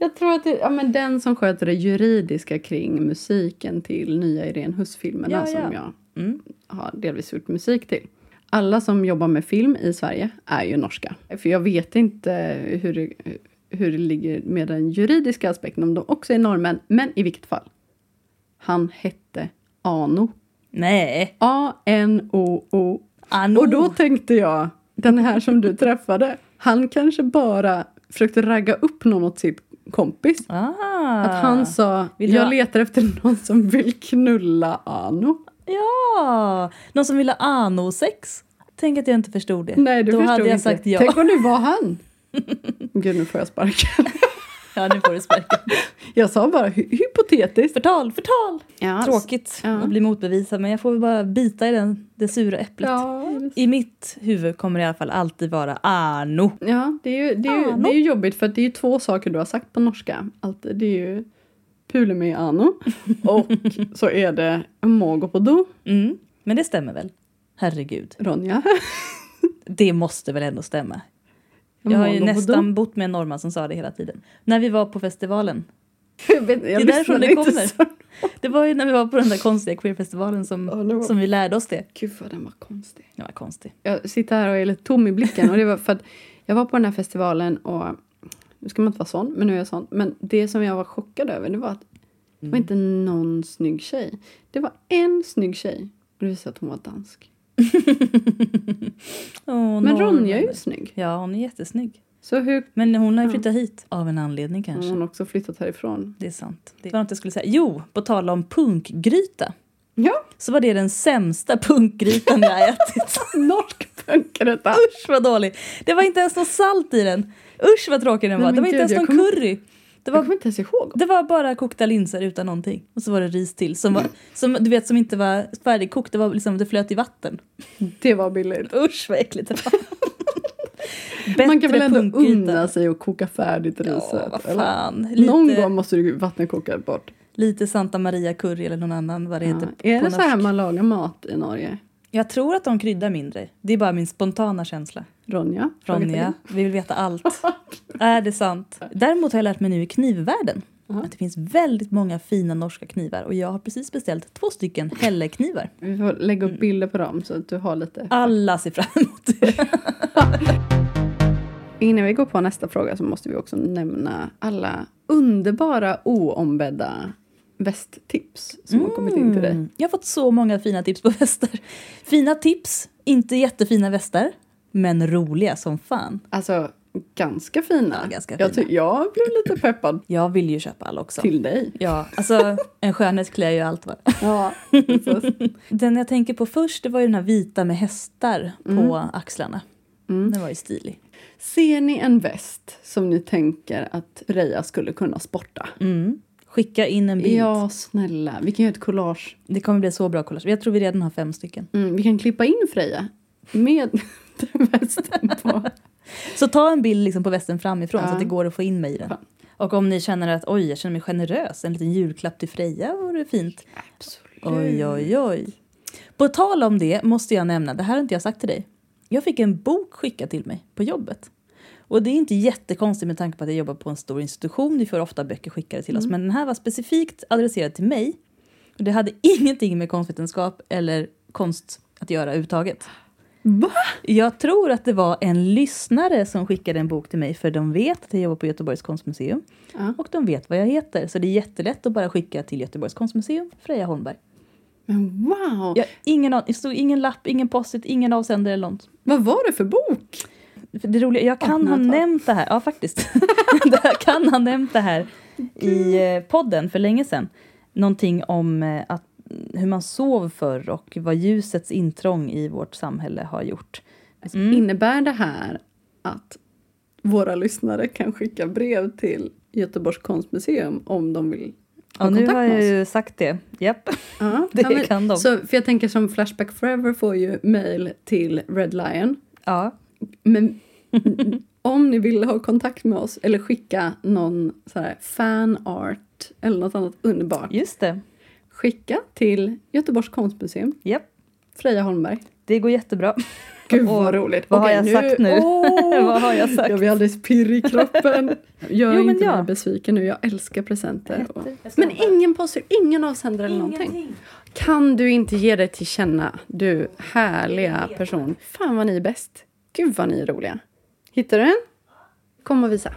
Jag tror att det, ja, men den som sköter det juridiska kring musiken till nya Irene Huss-filmerna Ja, ja. som jag Mm. har delvis gjort musik till. Alla som jobbar med film i Sverige är ju norska. För jag vet inte hur det, hur det ligger med den juridiska aspekten, om de också är norrmän. Men i vilket fall. Han hette Ano. Nej, A-N-O-O. Ano. Och då tänkte jag, den här som du träffade, han kanske bara försökte ragga upp någon åt sitt kompis. ah. Att han sa, Vill jag jag- letar efter någon som vill knulla Ano. Ja! Någon som ville ha anosex. Tänk att jag inte förstod det. Nej, du Då förstod hade jag inte. sagt ja. Tänk om det var han. (laughs) Gud, nu får jag sparken. Ja, nu får du (laughs) sparken. Jag sa bara hy- hypotetiskt. Förtal, förtal! Ja, Tråkigt Ja. att bli motbevisad, men jag får väl bara bita i den, det sura äpplet. Ja, I mitt huvud kommer det i alla fall alltid vara ano. ja det, är ju, det, är ju, Ano. det är ju jobbigt för att det är ju två saker du har sagt på norska. Alltid, det är ju pule (laughs) med ano och så är det magopodo, Mm. Men det stämmer väl? Herregud. Ronja. Det måste väl ändå stämma? Jag har ju Magopodo. nästan bott med en norrman som sa det hela tiden. När vi var på festivalen. (laughs) Jag vet, jag det är därifrån lyssnade det inte kommer. så- Det var ju när vi var på den där konstiga queerfestivalen som, Ja, det var- som vi lärde oss det. Gud vad den var konstig. Det var konstigt. jag sitter här och är lite tom i blicken. Och det var för att jag var på den här festivalen och nu ska man inte vara sån, men nu är jag sån. Men det som jag var chockad över det var att det Mm. var inte någon snygg tjej. Det var en snygg tjej och det visade sig att hon var dansk. Åh, Men norrmän. Ronja är ju snygg. Ja, hon är jättesnygg. Så hur Men hon har ju flyttat hit. Av en anledning kanske. hon också flyttat härifrån? (laughs) Det är sant. Det var något jag skulle säga. Jo, på tal om punkgryta. Ja, Så var det den sämsta punkgrytan jag (laughs) ätit. norsk (laughs) punkröta! Usch vad dålig! Det var inte ens något salt i den. Usch vad tråkig den Nej, var. men Det var inte gud, ens någon jag kommer- curry. Det Jag var, kommer inte ens ihåg. det var bara kokta linser utan någonting. Och så var det ris till som, var, som, du vet, som inte var färdigkokt. Det, var liksom, det flöt i vatten. Det var billigt. Usch vad äckligt det var. Bättre (laughs) Man kan väl ändå punkgryta. unna sig och koka färdigt Ja, riset? vad eller? fan. Någon Lite, gång måste du vattenkoka bort. lite Santa Maria curry eller någon annan vad det Ja. heter. Är på det så här norsk. man lagar mat i Norge? Jag tror att de kryddar mindre. Det är bara min spontana känsla. Ronja? Ronja, vi vill veta (laughs) allt. är det sant? Däremot har jag lärt mig nu i knivvärlden att det finns väldigt många fina norska knivar och jag har precis beställt två stycken hälleknivar. Vi får lägga Mm. upp bilder på dem så att du har lite. Alla ser fram emot det. Innan vi går på nästa fråga så måste vi också nämna alla underbara oombedda västtips som har kommit in till dig. Mm. Jag har fått så många fina tips på västar. Fina tips, inte jättefina västar, men roliga som fan. Alltså ganska fina. Ja, ganska jag, fina. ty- jag blev lite peppad Jag vill ju köpa alla också. till dig. (laughs) Ja, alltså en skönhet klär ju allt va. Ja, precis. Den jag tänker på först det var ju den här vita med hästar på axlarna. Den var ju stilig. Ser ni en väst som ni tänker att Freja skulle kunna sporta? Mm. Skicka in en bild. Ja, snälla. Vi kan göra ett collage. Det kommer bli så bra collage. Jag tror vi redan har fem stycken. Mm, vi kan klippa in Freja med (laughs) den västen på. Så ta en bild liksom på västen framifrån så Ja. att det går att få in mig i den. Fan. Och om ni känner att oj, jag känner mig generös, en liten julklapp till Freja vore fint. Absolut. Oj, oj, oj. På tal om det måste jag nämna, det här har inte jag sagt till dig. Jag fick en bok skickad till mig på jobbet. Och det är inte jättekonstigt med tanke på att jag jobbar på en stor institution. Vi får ofta böcker skickade till oss. Mm. Men den här var specifikt adresserad till mig. Och det hade (laughs) ingenting med konstvetenskap eller konst att göra överhuvudtaget. Va? Jag tror att det var en lyssnare som skickade en bok till mig för de vet att jag jobbar på Göteborgs konstmuseum. Ja. Och de vet vad jag heter. Så det är jättelätt att bara skicka till Göteborgs konstmuseum, Freja Holmberg. Men wow! Jag, ingen, an- det stod ingen lapp, ingen post-it, ingen avsändare eller något. Vad var det för bok? För Det roliga, jag kan ha Öppna ett tag. nämnt det här, ja faktiskt. (laughs) jag kan ha nämnt det här i eh, podden för länge sedan. Någonting om eh, att hur man sov förr och vad ljusets intrång i vårt samhälle har gjort. Alltså, Innebär det här att våra lyssnare kan skicka brev till Göteborgs konstmuseum om de vill ha Ja, nu kontakt har med jag oss? ju sagt det. Japp. Ja, det kan de. Så, för jag tänker som Flashback Forever får ju mail till Red Lion. Ja. (laughs) Men om ni vill ha kontakt med oss eller skicka någon så här fanart eller något annat underbart. Just det. Skicka till Göteborgs konstmuseum, Japp. Freja Holmberg. Det går jättebra. Gud vad Åh, roligt. vad har Okej, jag sagt nu? Åh! (laughs) Vad har jag sagt? Jag blir alldeles pirrig i kroppen. (laughs) Gör Jo, men inte ja. mig besviken nu, jag älskar presenter. Och... Jag ska Men bara- ingen poster, ingen avsändare eller någonting. Kan du inte ge dig till känna, du härliga person. Fan vad ni är bäst. Gud vad ni är roliga. Hittar du en? Kom och visa.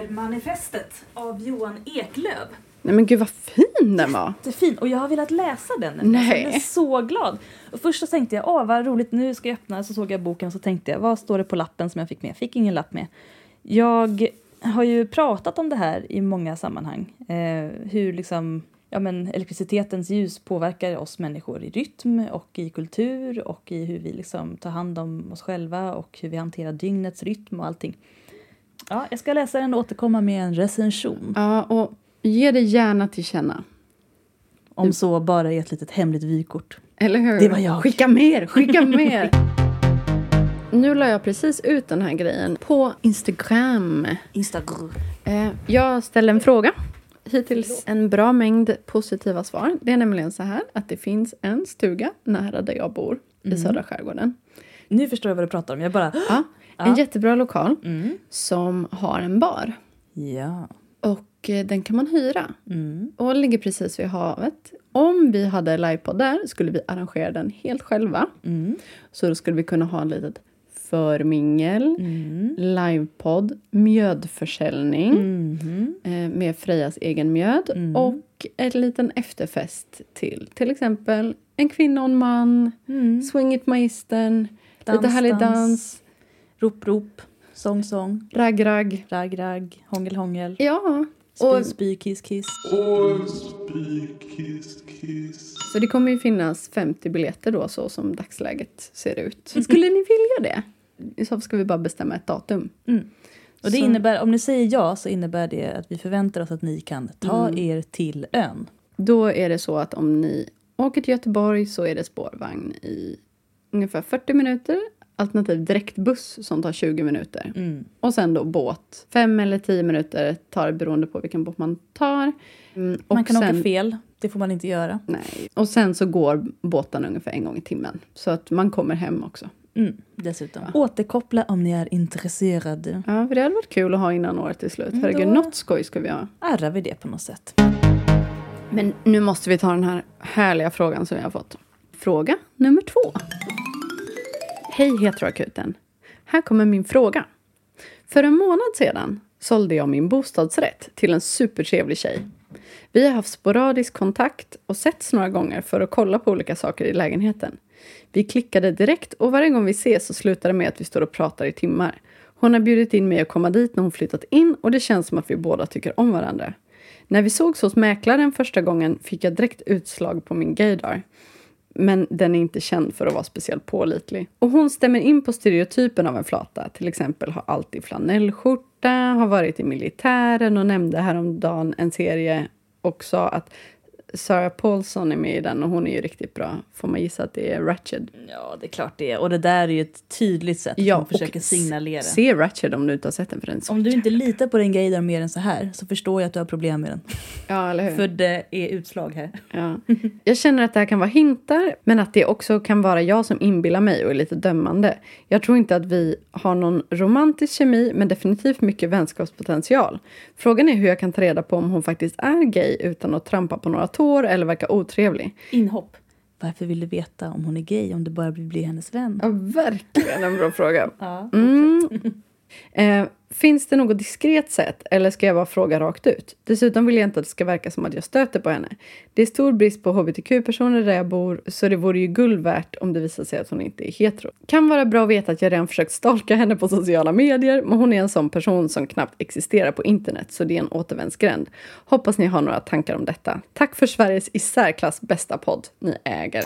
Mörkermanifestet av Johan Eklöv. Nej men gud vad fin den var. jättefin och jag har velat läsa den. nu. Nej. Jag är så glad. Och först så tänkte jag, åh vad roligt, nu ska jag öppna. Så såg jag boken och så tänkte jag, vad står det på lappen som jag fick med? Jag fick ingen lapp med. Jag har ju pratat om det här i många sammanhang. Eh, hur liksom, ja men elektricitetens ljus påverkar oss människor i rytm och i kultur och i hur vi liksom tar hand om oss själva och hur vi hanterar dygnets rytm och allting. Ja, jag ska läsa den och återkomma med en recension. Ja och ge dig gärna till känna. Om så bara i ett litet hemligt vykort. Eller hur? Det var jag. Skicka mer, skicka mer! nu la jag precis ut den här grejen på Instagram. Instagram. Eh, jag ställer en fråga. Hittills en bra mängd positiva svar. Det är nämligen så här att det finns en stuga nära där jag bor Mm. i södra skärgården. Nu förstår jag vad du pratar om. Jag bara... Ja, en Ja. jättebra lokal Mm. som har en bar. Ja. Och eh, den kan man hyra. Mm. Och ligger precis vid havet. Om vi hade livepodd där skulle vi arrangera den helt själva. Mm. Så då skulle vi kunna ha en litet förmingel, Mm. livepodd, mjödförsäljning. Mhm. eh, med Frejas egen mjöd Mm. och en liten efterfest till till exempel en kvinna och en man, Mm. Swing it magistern, lite Dans, härlig dans. dans, Rop, rop. Sång, sång. ragg, ragg. Ragg, ragg. Hångel, hångel. Ja, Spy, och, spy, kiss, kiss. så det kommer ju finnas 50 biljetter då så som dagsläget ser ut. Skulle ni vilja det? I så fall ska vi bara bestämma ett datum. Och det Så- innebär, om ni säger ja så innebär det att vi förväntar oss att ni kan ta er till ön. Då är det så att om ni åker till Göteborg så är det spårvagn i ungefär 40 minuter alternativt direktbuss som tar 20 minuter. Mm. Och sen då båt. Fem eller tio minuter tar det beroende på vilken båt man tar. Mm, och Man kan sen, åka fel, det får man inte göra. Nej. Och sen så går båten ungefär en gång i timmen. Så att man kommer hem också. Mm. Dessutom. Återkoppla om ni är intresserade. Ja, för det hade varit kul att ha innan året är slut. Herregud, då- något skoj ska vi ha. Ärrar vi det på något sätt? Men nu måste vi ta den här härliga frågan som jag har fått. Fråga nummer två. Hej heteroakuten. Här kommer min fråga. För en månad sedan sålde jag min bostadsrätt till en supertrevlig tjej. Vi har haft sporadisk kontakt och setts några gånger för att kolla på olika saker i lägenheten. Vi klickade direkt och varje gång vi ses så slutar det med att vi står och pratar i timmar. Hon har bjudit in mig att komma dit när hon flyttat in och det känns som att vi båda tycker om varandra. När vi sågs hos mäklaren första gången fick jag direkt utslag på min gaydar. Men den är inte känd för att vara speciellt pålitlig. Och hon stämmer in på stereotypen av en flata. Till exempel har alltid flanellskjorta, har varit i militären och nämnde häromdagen en serie och sa att Sarah Paulson är med i den och hon är ju riktigt bra. Får man gissa att det är Ratched? Ja, det är klart det är. Och det där är ju ett tydligt sätt att man och försöker signalera. s- Se Ratched om du inte har sett den för den. är så- Om du inte litar på din gaydar mer än så här så förstår jag att du har problem med den. Ja, eller hur? För det är utslag här. Ja. Jag känner att det här kan vara hintar, men att det också kan vara jag som inbillar mig och är lite dömande. Jag tror inte att vi har någon romantisk kemi, men definitivt mycket vänskapspotential. Frågan är hur jag kan ta reda på om hon faktiskt är gay utan att trampa på några tår eller verka otrevlig. Inhopp. Varför vill du veta om hon är gay om du bara vill bli hennes vän? (laughs) Ja, verkligen en bra fråga. (laughs) Ja. Mm. Eh, finns det något diskret sätt eller ska jag bara fråga rakt ut? Dessutom vill jag inte att det ska verka som att jag stöter på henne. Det är stor brist på hbtq-personer där jag bor så det vore ju guld värt om det visar sig att hon inte är hetero. Kan vara bra att veta att jag redan försökt stalka henne på sociala medier men hon är en sån person som knappt existerar på internet så det är en återvändsgränd. Hoppas ni har några tankar om detta. Tack för Sveriges i särklass bästa podd ni äger.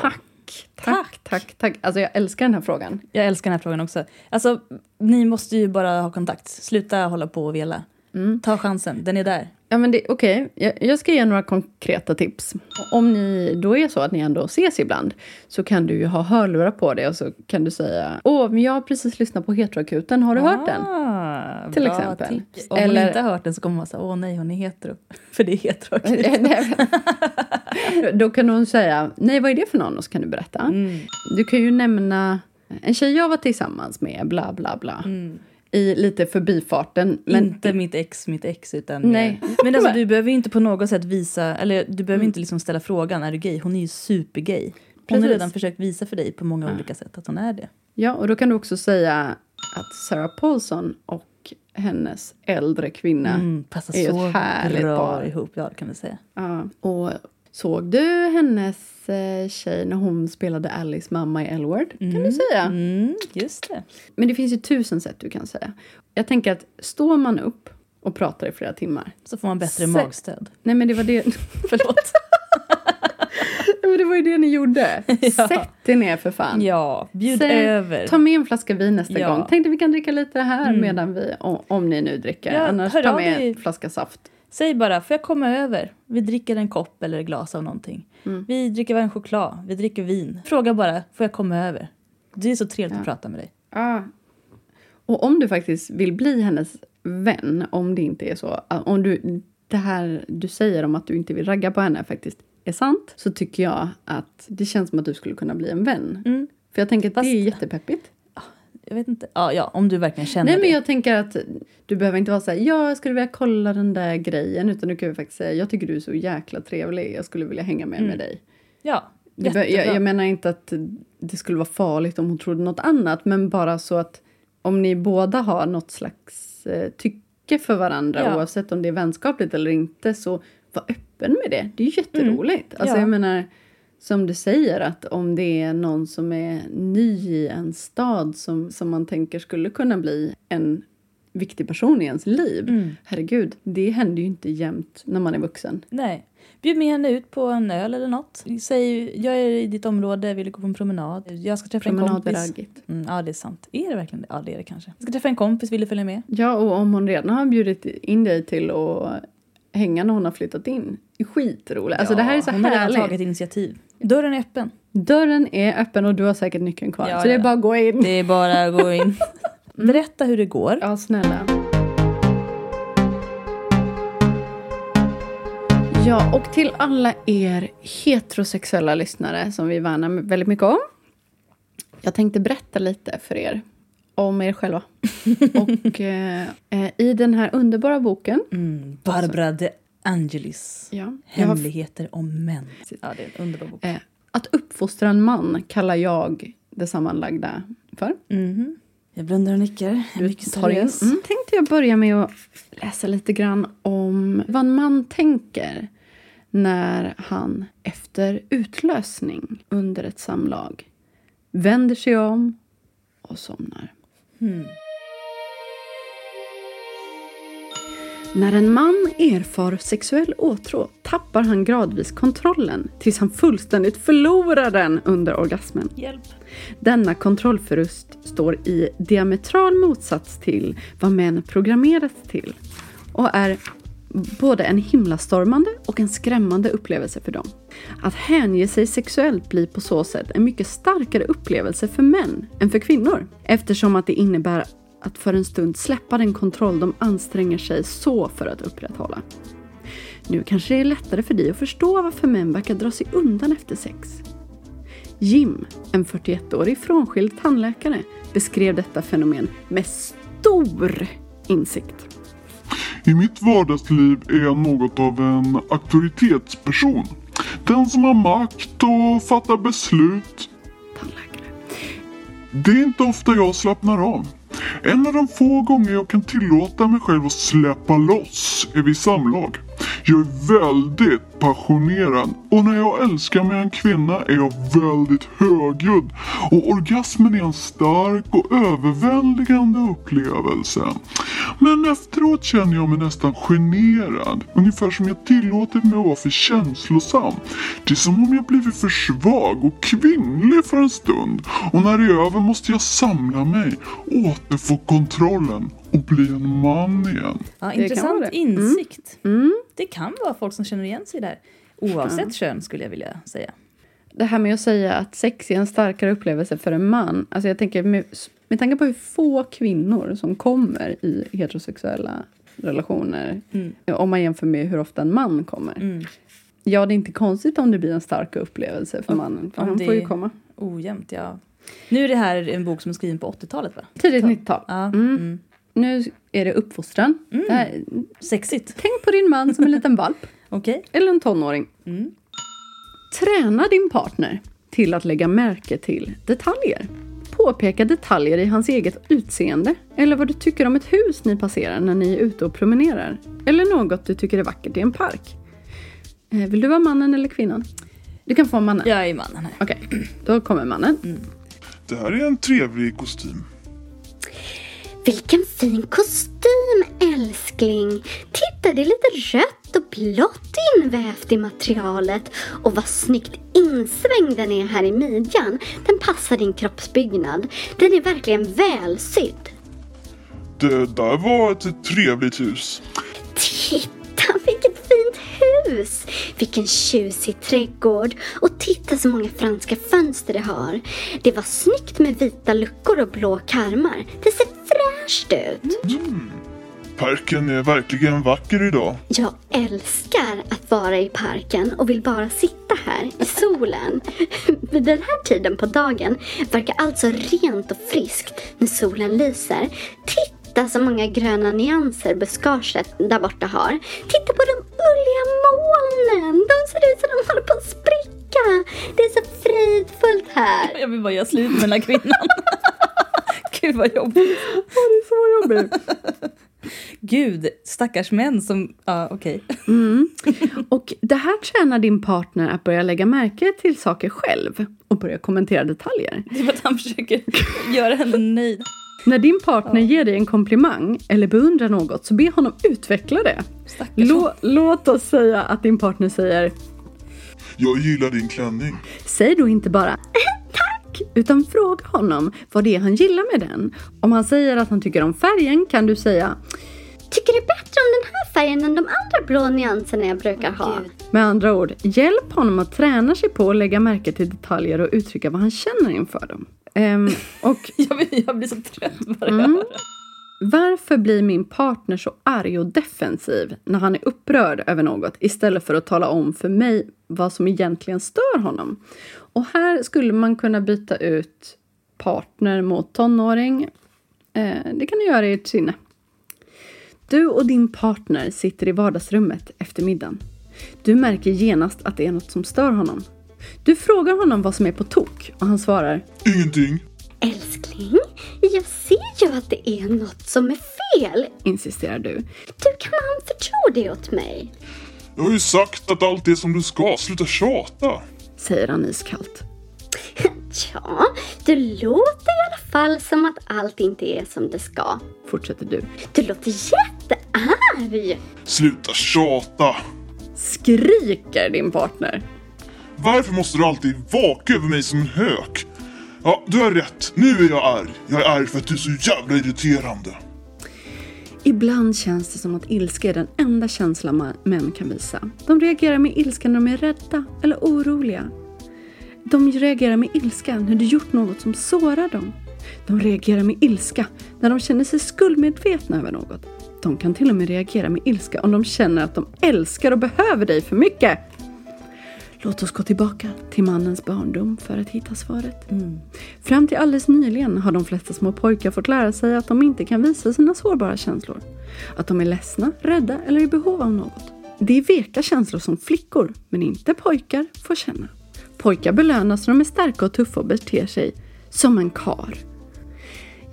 Tack, tack, tack, tack. Alltså jag älskar den här frågan. Jag älskar den här frågan också. Alltså, ni måste ju bara ha kontakt. Sluta hålla på och vela. Mm. Ta chansen, den är där. Ja, men det, okej. Jag, jag ska ge några konkreta tips. Om ni då är så att ni ändå ses ibland så kan du ju ha hörlurar på dig och så kan du säga Åh, men jag har precis lyssnat på Heteroakuten, har du hört den? Ah, Till bra exempel. tips. Om Eller- hon inte har hört den så kommer man säga åh nej, hon är hetero. (laughs) För det är hetero. (laughs) (laughs) Nej, (laughs) men- då kan hon säga Nej, vad är det för någon? Och så kan du berätta. Mm. Du kan ju nämna en tjej jag var tillsammans med, bla bla bla. Mm. I lite förbifarten. Men inte mitt ex, mitt ex, utan... Mm. Nej. Mm. Men alltså, (laughs) du behöver ju inte på något sätt visa, eller du behöver inte liksom ställa frågan, är du gay? Hon är ju supergay. Hon har Precis. Ah. redan försökt visa för dig på många olika sätt att hon är det. Ja, och då kan du också säga att Sarah Paulson och hennes äldre kvinna Mm, passar är ju så ett härligt bra par. ihop, ja det kan vi säga. Ja. Och såg du hennes eh, tjej när hon spelade Alice mamma i Elward? Kan du säga. Mm, just det. Men det finns ju tusen sätt du kan säga. Jag tänker att står man upp och pratar i flera timmar. Så får man bättre Sä- magstöd. (laughs) Nej men det var det... (laughs) Förlåt. Nej, men det var ju det ni gjorde. (laughs) Ja. Sätt er ner för fan. Ja, bjud Säg- över. Ta med en flaska vin nästa Ja. Mm. gång. Tänkte vi kan dricka lite här medan vi, o- om ni nu dricker. Ja, Annars hör ta av med dig. en flaska saft. Säg bara, får jag komma över? Vi dricker en kopp eller ett glas av någonting. Mm. Vi dricker varm choklad, vi dricker vin. Fråga bara, får jag komma över? Det är så trevligt att prata med dig. Ja. Och om du faktiskt vill bli hennes vän, om det inte är så... Om du, det här du säger om att du inte vill ragga på henne faktiskt är sant så tycker jag att det känns som att du skulle kunna bli en vän. För jag tänker att Mm. Fast- det är jättepeppigt. Jag vet inte, ja, ja om du verkligen känner Nej, men det. jag tänker att du behöver inte vara så här, ja, jag skulle vilja kolla den där grejen, utan du kan ju faktiskt säga, jag tycker du är så jäkla trevlig, jag skulle vilja hänga med Mm. med dig. Ja, Det be- jättebra. jag, jag menar inte att det skulle vara farligt om hon trodde något annat men bara så att om ni båda har något slags eh, tycke för varandra Ja. oavsett om det är vänskapligt eller inte så var öppen med det. Det är ju jätteroligt. Mm. Alltså Ja. jag menar som du säger att om det är någon som är ny i en stad som, som man tänker skulle kunna bli en viktig person i ens liv. Mm. Herregud, det händer ju inte jämt när man är vuxen. Nej. Bjud med henne ut på en öl eller något. Säg, jag är i ditt område, vill du gå på en promenad? Jag ska träffa en Promenad är kompis. raggigt. Mm, ja, det är sant. Är det verkligen det? Ja, det är det kanske. Jag ska träffa en kompis, vill du följa med? Ja, och om hon redan har bjudit in dig till att hänga när hon har flyttat in. Skitroligt. Alltså det här är så Hon har redan härligt. tagit initiativ. Dörren är öppen. Dörren är öppen och du har säkert nyckeln kvar. Ja, så det är ja. bara att gå in. Det är bara att (laughs) gå in. Berätta hur det går. Mm. Ja, snälla. Ja, och till alla er heterosexuella lyssnare som vi värnar väldigt mycket om. Jag tänkte berätta lite för er om (laughs) er själva. och eh, eh, i den här underbara boken Mm, Barbara de Angelis. ja, jag har Hemligheter om män. Ja, det är en underbar bok. Eh, att uppfostra en man kallar jag det sammanlagda för. Jag blundar och nickar. Mhm. Du mycket Tar in- seriös. Mm. Tänkte jag börja med att läsa lite grann om vad en man tänker när han efter utlösning under ett samlag vänder sig om och somnar. När en man erfar sexuell åtrå tappar han gradvis kontrollen tills han fullständigt förlorar den under orgasmen. Denna kontrollförlust står i diametral motsats till vad män programmerats till och är både en himlastormande och en skrämmande upplevelse för dem. Att hänge sig sexuellt blir på så sätt en mycket starkare upplevelse för män än för kvinnor eftersom att det innebär att för en stund släppa den kontroll de anstränger sig så för att upprätthålla. Nu kanske det är lättare för dig att förstå varför män verkar dra sig undan efter sex. Jim, en 41-årig frånskild tandläkare, beskrev detta fenomen med stor insikt. I mitt vardagsliv är jag något av en auktoritetsperson. Den som har makt och fattar beslut. Tandläkare. Det är inte ofta jag slappnar av. En av de få gånger jag kan tillåta mig själv att släppa loss är vid samlag. Jag är väldigt passionerad och när jag älskar med en kvinna är jag väldigt högljudd och orgasmen är en stark och överväldigande upplevelse. Men efteråt känner jag mig nästan generad, ungefär som jag tillåtit mig att vara för känslosam. Det är som om jag blivit för svag och kvinnlig för en stund och när det är över måste jag samla mig, återfå kontrollen och bli en man igen. Ja, kan intressant vara det. insikt. Mm. Det kan vara folk som känner igen sig där. Oavsett kön skulle jag vilja säga. Det här med att säga att sex är en starkare upplevelse för en man. Alltså jag tänker med, med tanke på hur få kvinnor som kommer i heterosexuella relationer Mm. om man jämför med hur ofta en man kommer. Mm. Ja, det är inte konstigt om det blir en stark upplevelse för mannen. För om han det- får ju komma. Ojämnt, ja. Nu är det här en bok som är skriven på 80-talet, va? Tidigt 90-tal. Ja. Mm. Mm. Nu är det uppfostran. Det här, Sexigt. tänk på din man som en liten valp. Okej. Eller en tonåring. Mm. Träna din partner till att lägga märke till detaljer. Påpeka detaljer i hans eget utseende eller vad du tycker om ett hus ni passerar när ni är ute och promenerar. Eller något du tycker är vackert i en park. Eh, Vill du vara mannen eller kvinnan? Du kan få mannen. Jag är mannen här. Okej, då kommer mannen. Det här är en trevlig kostym. Vilken fin kostym älskling! Titta, det är lite rött och blått invävt i materialet. Och vad snyggt insvängd den är här i midjan. Den passar din kroppsbyggnad. Den är verkligen välsydd. Det där var ett trevligt hus. Titta, vilket fint hus! Vilken tjusig trädgård. Och titta så många franska fönster det har. Det var snyggt med vita luckor och blå karmar. Det ser fräscht ut. Parken är verkligen vacker idag. Jag älskar att vara i parken och vill bara sitta här i solen. (laughs) Vid den här tiden på dagen verkar allt så rent och friskt när solen lyser. Titta så många gröna nyanser buskaget där borta har. Titta på de ulliga molnen! De ser ut som de håller på att spricka. Det är så fridfullt här. Jag vill bara göra slut med den här kvinnan. (laughs) Gud vad jobbigt. Så jobbigt. Gud, stackars män som... Ja, okej. Och det här tränar din partner att börja lägga märke till saker själv och börja kommentera detaljer. Det är för att han försöker göra henne nöjd. När din partner ger dig en komplimang eller beundrar något så be honom utveckla det. Stackars Lå, låt oss säga att din partner säger Jag gillar din klänning. Säg då inte bara (laughs) tack, utan fråga honom vad det är han gillar med den. Om han säger att han tycker om färgen kan du säga Tycker det är bättre om den här färgen än de andra blå nyanserna jag brukar ha. Med andra ord, hjälp honom att träna sig på att lägga märke till detaljer och uttrycka vad han känner inför dem. Ehm, och Jag, blir- jag blir så trött bara jag Mm. hör det. Varför blir min partner så arg och defensiv när han är upprörd över något istället för att tala om för mig vad som egentligen stör honom? Och här skulle man kunna byta ut partner mot tonåring. Eh, det kan du göra i ert sinne. Du och din partner sitter i vardagsrummet efter middagen. Du märker genast att det är något som stör honom. Du frågar honom vad som är på tok och han svarar Ingenting. Älskling, jag ser ju att det är något som är fel. insisterar du. Du kan anförtro det åt mig. Jag har ju sagt att allt är som du ska. Sluta tjata. Säger han iskallt. Tja, du låter i alla fall som att allt inte är som det ska. Fortsätter du. Du låter jättearg. Sluta tjata. skriker din partner. Varför måste du alltid vaka över mig som en hök? Ja, du har rätt. Nu är jag arg. Jag är arg för att du är så jävla irriterande. Ibland känns det som att ilska är den enda känslan ma- män kan visa. De reagerar med ilska när de är rädda eller oroliga. De reagerar med ilska när du gjort något som sårar dem. De reagerar med ilska när de känner sig skuldmedvetna över något. De kan till och med reagera med ilska om de känner att de älskar och behöver dig för mycket. Låt oss gå tillbaka till mannens barndom för att hitta svaret. Mm. Fram till alldeles nyligen har de flesta små pojkar fått lära sig att de inte kan visa sina sårbara känslor. Att de är ledsna, rädda eller i behov av något. Det är veka känslor som flickor, men inte pojkar, får känna. Pojkar belönas när de är starka och tuffa och beter sig som en kar.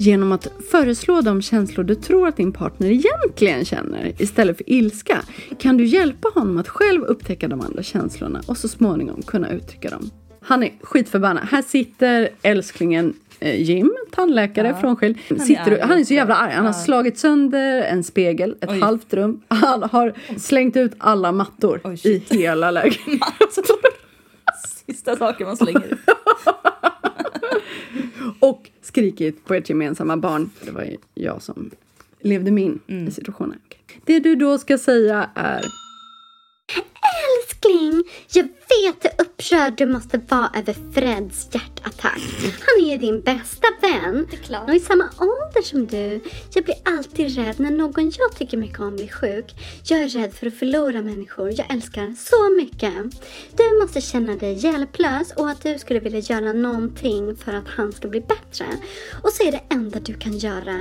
genom att föreslå de känslor du tror att din partner egentligen känner istället för ilska kan du hjälpa honom att själv upptäcka de andra känslorna och så småningom kunna uttrycka dem. Han är skitförbannad. Här sitter älsklingen eh, Jim, tandläkare frånskild. Han är Sitter, arg och- han är så jävla arg. Han har slagit sönder en spegel, ett Oj. halvt rum. Han har slängt ut alla mattor i hela lägenheten. Sista saken man slänger ut. Och skrikit på ert gemensamma barn. Det var ju jag som levde mig in Mm. i situationen. Okej. Det du då ska säga är Älskling, jag vet hur upprörd du måste vara över Freds hjärtattack. Han är ju din bästa vän. Och i samma ålder som du. Jag blir alltid rädd när någon jag tycker mycket om blir sjuk. Jag är rädd för att förlora människor jag älskar så mycket. Du måste känna dig hjälplös och att du skulle vilja göra någonting för att han ska bli bättre. Och så är det enda du kan göra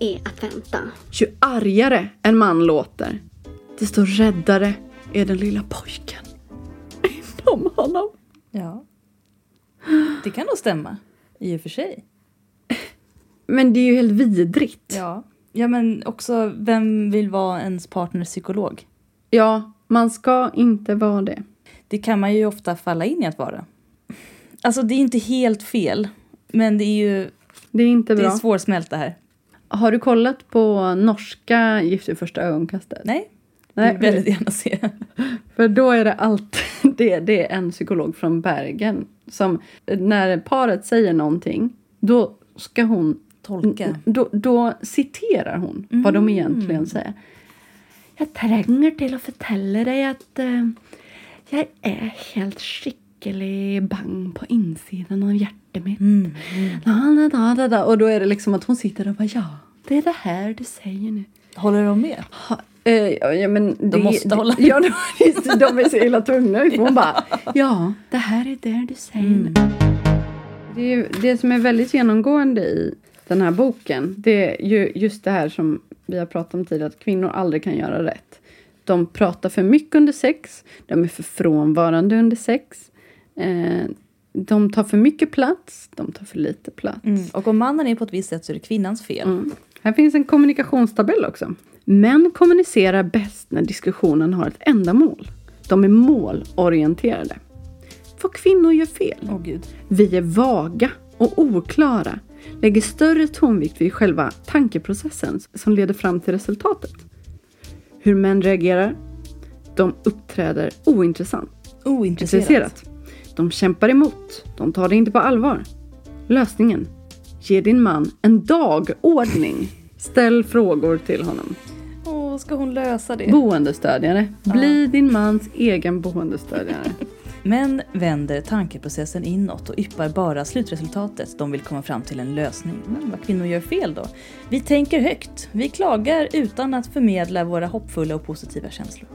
är att vänta. ju argare en man låter, desto räddare är den lilla pojken. Inom honom. Ja. Det kan nog stämma. I och för sig. Men det är ju helt vidrigt. Ja. Ja men också, vem vill vara ens partners psykolog? Ja, man ska inte vara det. Det kan man ju ofta falla in i att vara. Alltså det är inte helt fel. Men det är ju Det är inte det bra. är svårsmält det här. Har du kollat på norska Gift i första ögonkastet? Nej. Nej, Nej. Vill väldigt gärna se. (laughs) För då är det alltid (laughs) det, det är en psykolog från Bergen som när paret säger någonting då ska hon Tolka. Då, då citerar hon vad de egentligen säger. Jag tränger till att fortälla dig att eh, jag är helt skicklig bang på insidan av hjärtat mitt. Da, da, da, da. Och då är det liksom att hon sitter och bara ja, det är det här du säger nu. Håller de med? Ha, eh, ja, ja, men det, måste det, hålla. (laughs) Ja, de, de är så (laughs) illa tvungna. Hon bara, ja, det här är det du säger Mm. nu. Det, är ju, det som är väldigt genomgående i den här boken det är ju just det här som vi har pratat om tidigare, att kvinnor aldrig kan göra rätt. De pratar för mycket under sex, de är för frånvarande under sex. Eh, de tar för mycket plats, de tar för lite plats. Mm. Och om mannen är på ett visst sätt så är det kvinnans fel. Mm. Här finns en kommunikationstabell också. Män kommunicerar bäst när diskussionen har ett ändamål. De är målorienterade. För kvinnor gör fel. Åh gud. Vi är vaga och oklara. Lägger större tonvikt vid själva tankeprocessen som leder fram till resultatet. Hur män reagerar? De uppträder ointressant Ointresserat. intresserat. De kämpar emot. De tar det inte på allvar. Lösningen. Ge din man en dagordning. Ställ frågor till honom. Åh, ska hon lösa det? Boendestödjare. Bli din mans egen boendestödjare. Män vänder tankeprocessen inåt och yppar bara slutresultatet. De vill komma fram till en lösning. Men vad kvinnor gör fel då? Vi tänker högt. Vi klagar utan att förmedla våra hoppfulla och positiva känslor.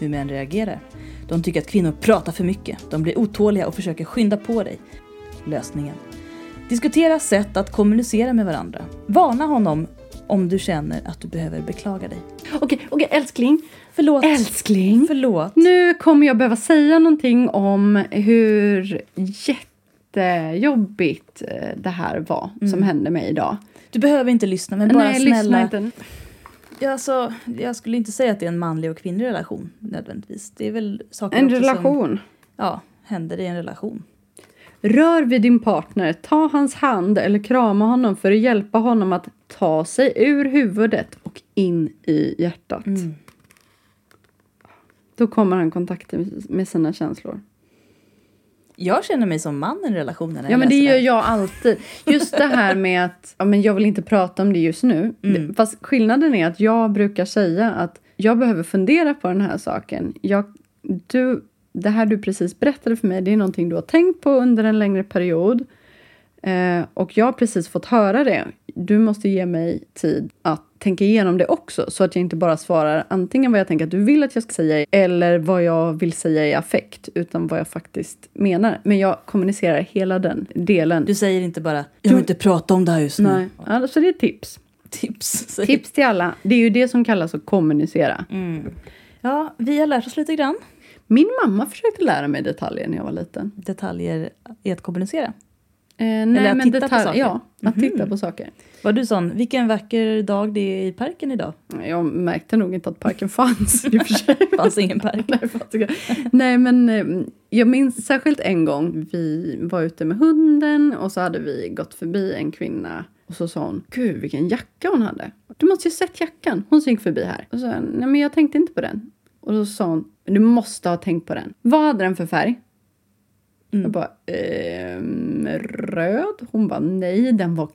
Hur män reagerar? De tycker att kvinnor pratar för mycket. De blir otåliga och försöker skynda på dig. Lösningen. Diskutera sätt att kommunicera med varandra. Varna honom om du känner att du behöver beklaga dig. Okej, okej älskling. Förlåt. Älskling. Förlåt. Nu kommer jag behöva säga någonting om hur jättejobbigt eh, det här var som hände mig idag. Du behöver inte lyssna men bara Nej, snälla. lyssna inte. Ja, alltså, jag skulle inte säga att det är en manlig och kvinnlig relation nödvändigtvis. Det är väl saker En också Som, relation. ja, händer i en relation. Rör vid din partner, ta hans hand eller krama honom för att hjälpa honom att ta sig ur huvudet och in i hjärtat. Då kommer han i kontakt med sina känslor. Jag känner mig som man i en relation när Ja, men det läser gör här. jag alltid. Just det här med att ja, men jag vill inte prata om det just nu. Det- Fast skillnaden är att jag brukar säga att jag behöver fundera på den här saken. Jag, du, det här du precis berättade för mig, det är någonting du har tänkt på under en längre period. Eh, och jag har precis fått höra det. Du måste ge mig tid att tänka igenom det också så att jag inte bara svarar antingen vad jag tänker att du vill att jag ska säga eller vad jag vill säga i affekt utan vad jag faktiskt menar. Men jag kommunicerar hela den delen. Du säger inte bara “jag vill inte prata om det här just nu”. Nej. Ja, så det är tips. Tips. (laughs) säger- Tips till alla. Det är ju det som kallas att kommunicera. Mm. Ja, vi har lärt oss lite grann Min mamma försökte lära mig detaljer när jag var liten. Eh, detaljer i att kommunicera. nej, Eller att men titta på detalj- saker? Ja, att Mhm. titta på saker. Var du sån, vilken vacker dag det är i parken (laughs) idag? Jag märkte nog inte att parken (laughs) fanns i och för sig. Det fanns ingen park. Nej, fattiga. Nej, men eh, jag minns särskilt en gång vi var ute med hunden och så hade vi gått förbi en kvinna och så sa hon Gud vilken jacka hon hade. Du måste ju ha sett jackan. Hon som gick förbi här. Och så sa jag, Nej men jag tänkte inte på den. Och så sa hon "Men Du måste ha tänkt på den. Vad hade den för färg? Jag bara ehm, röd? Hon bara nej den var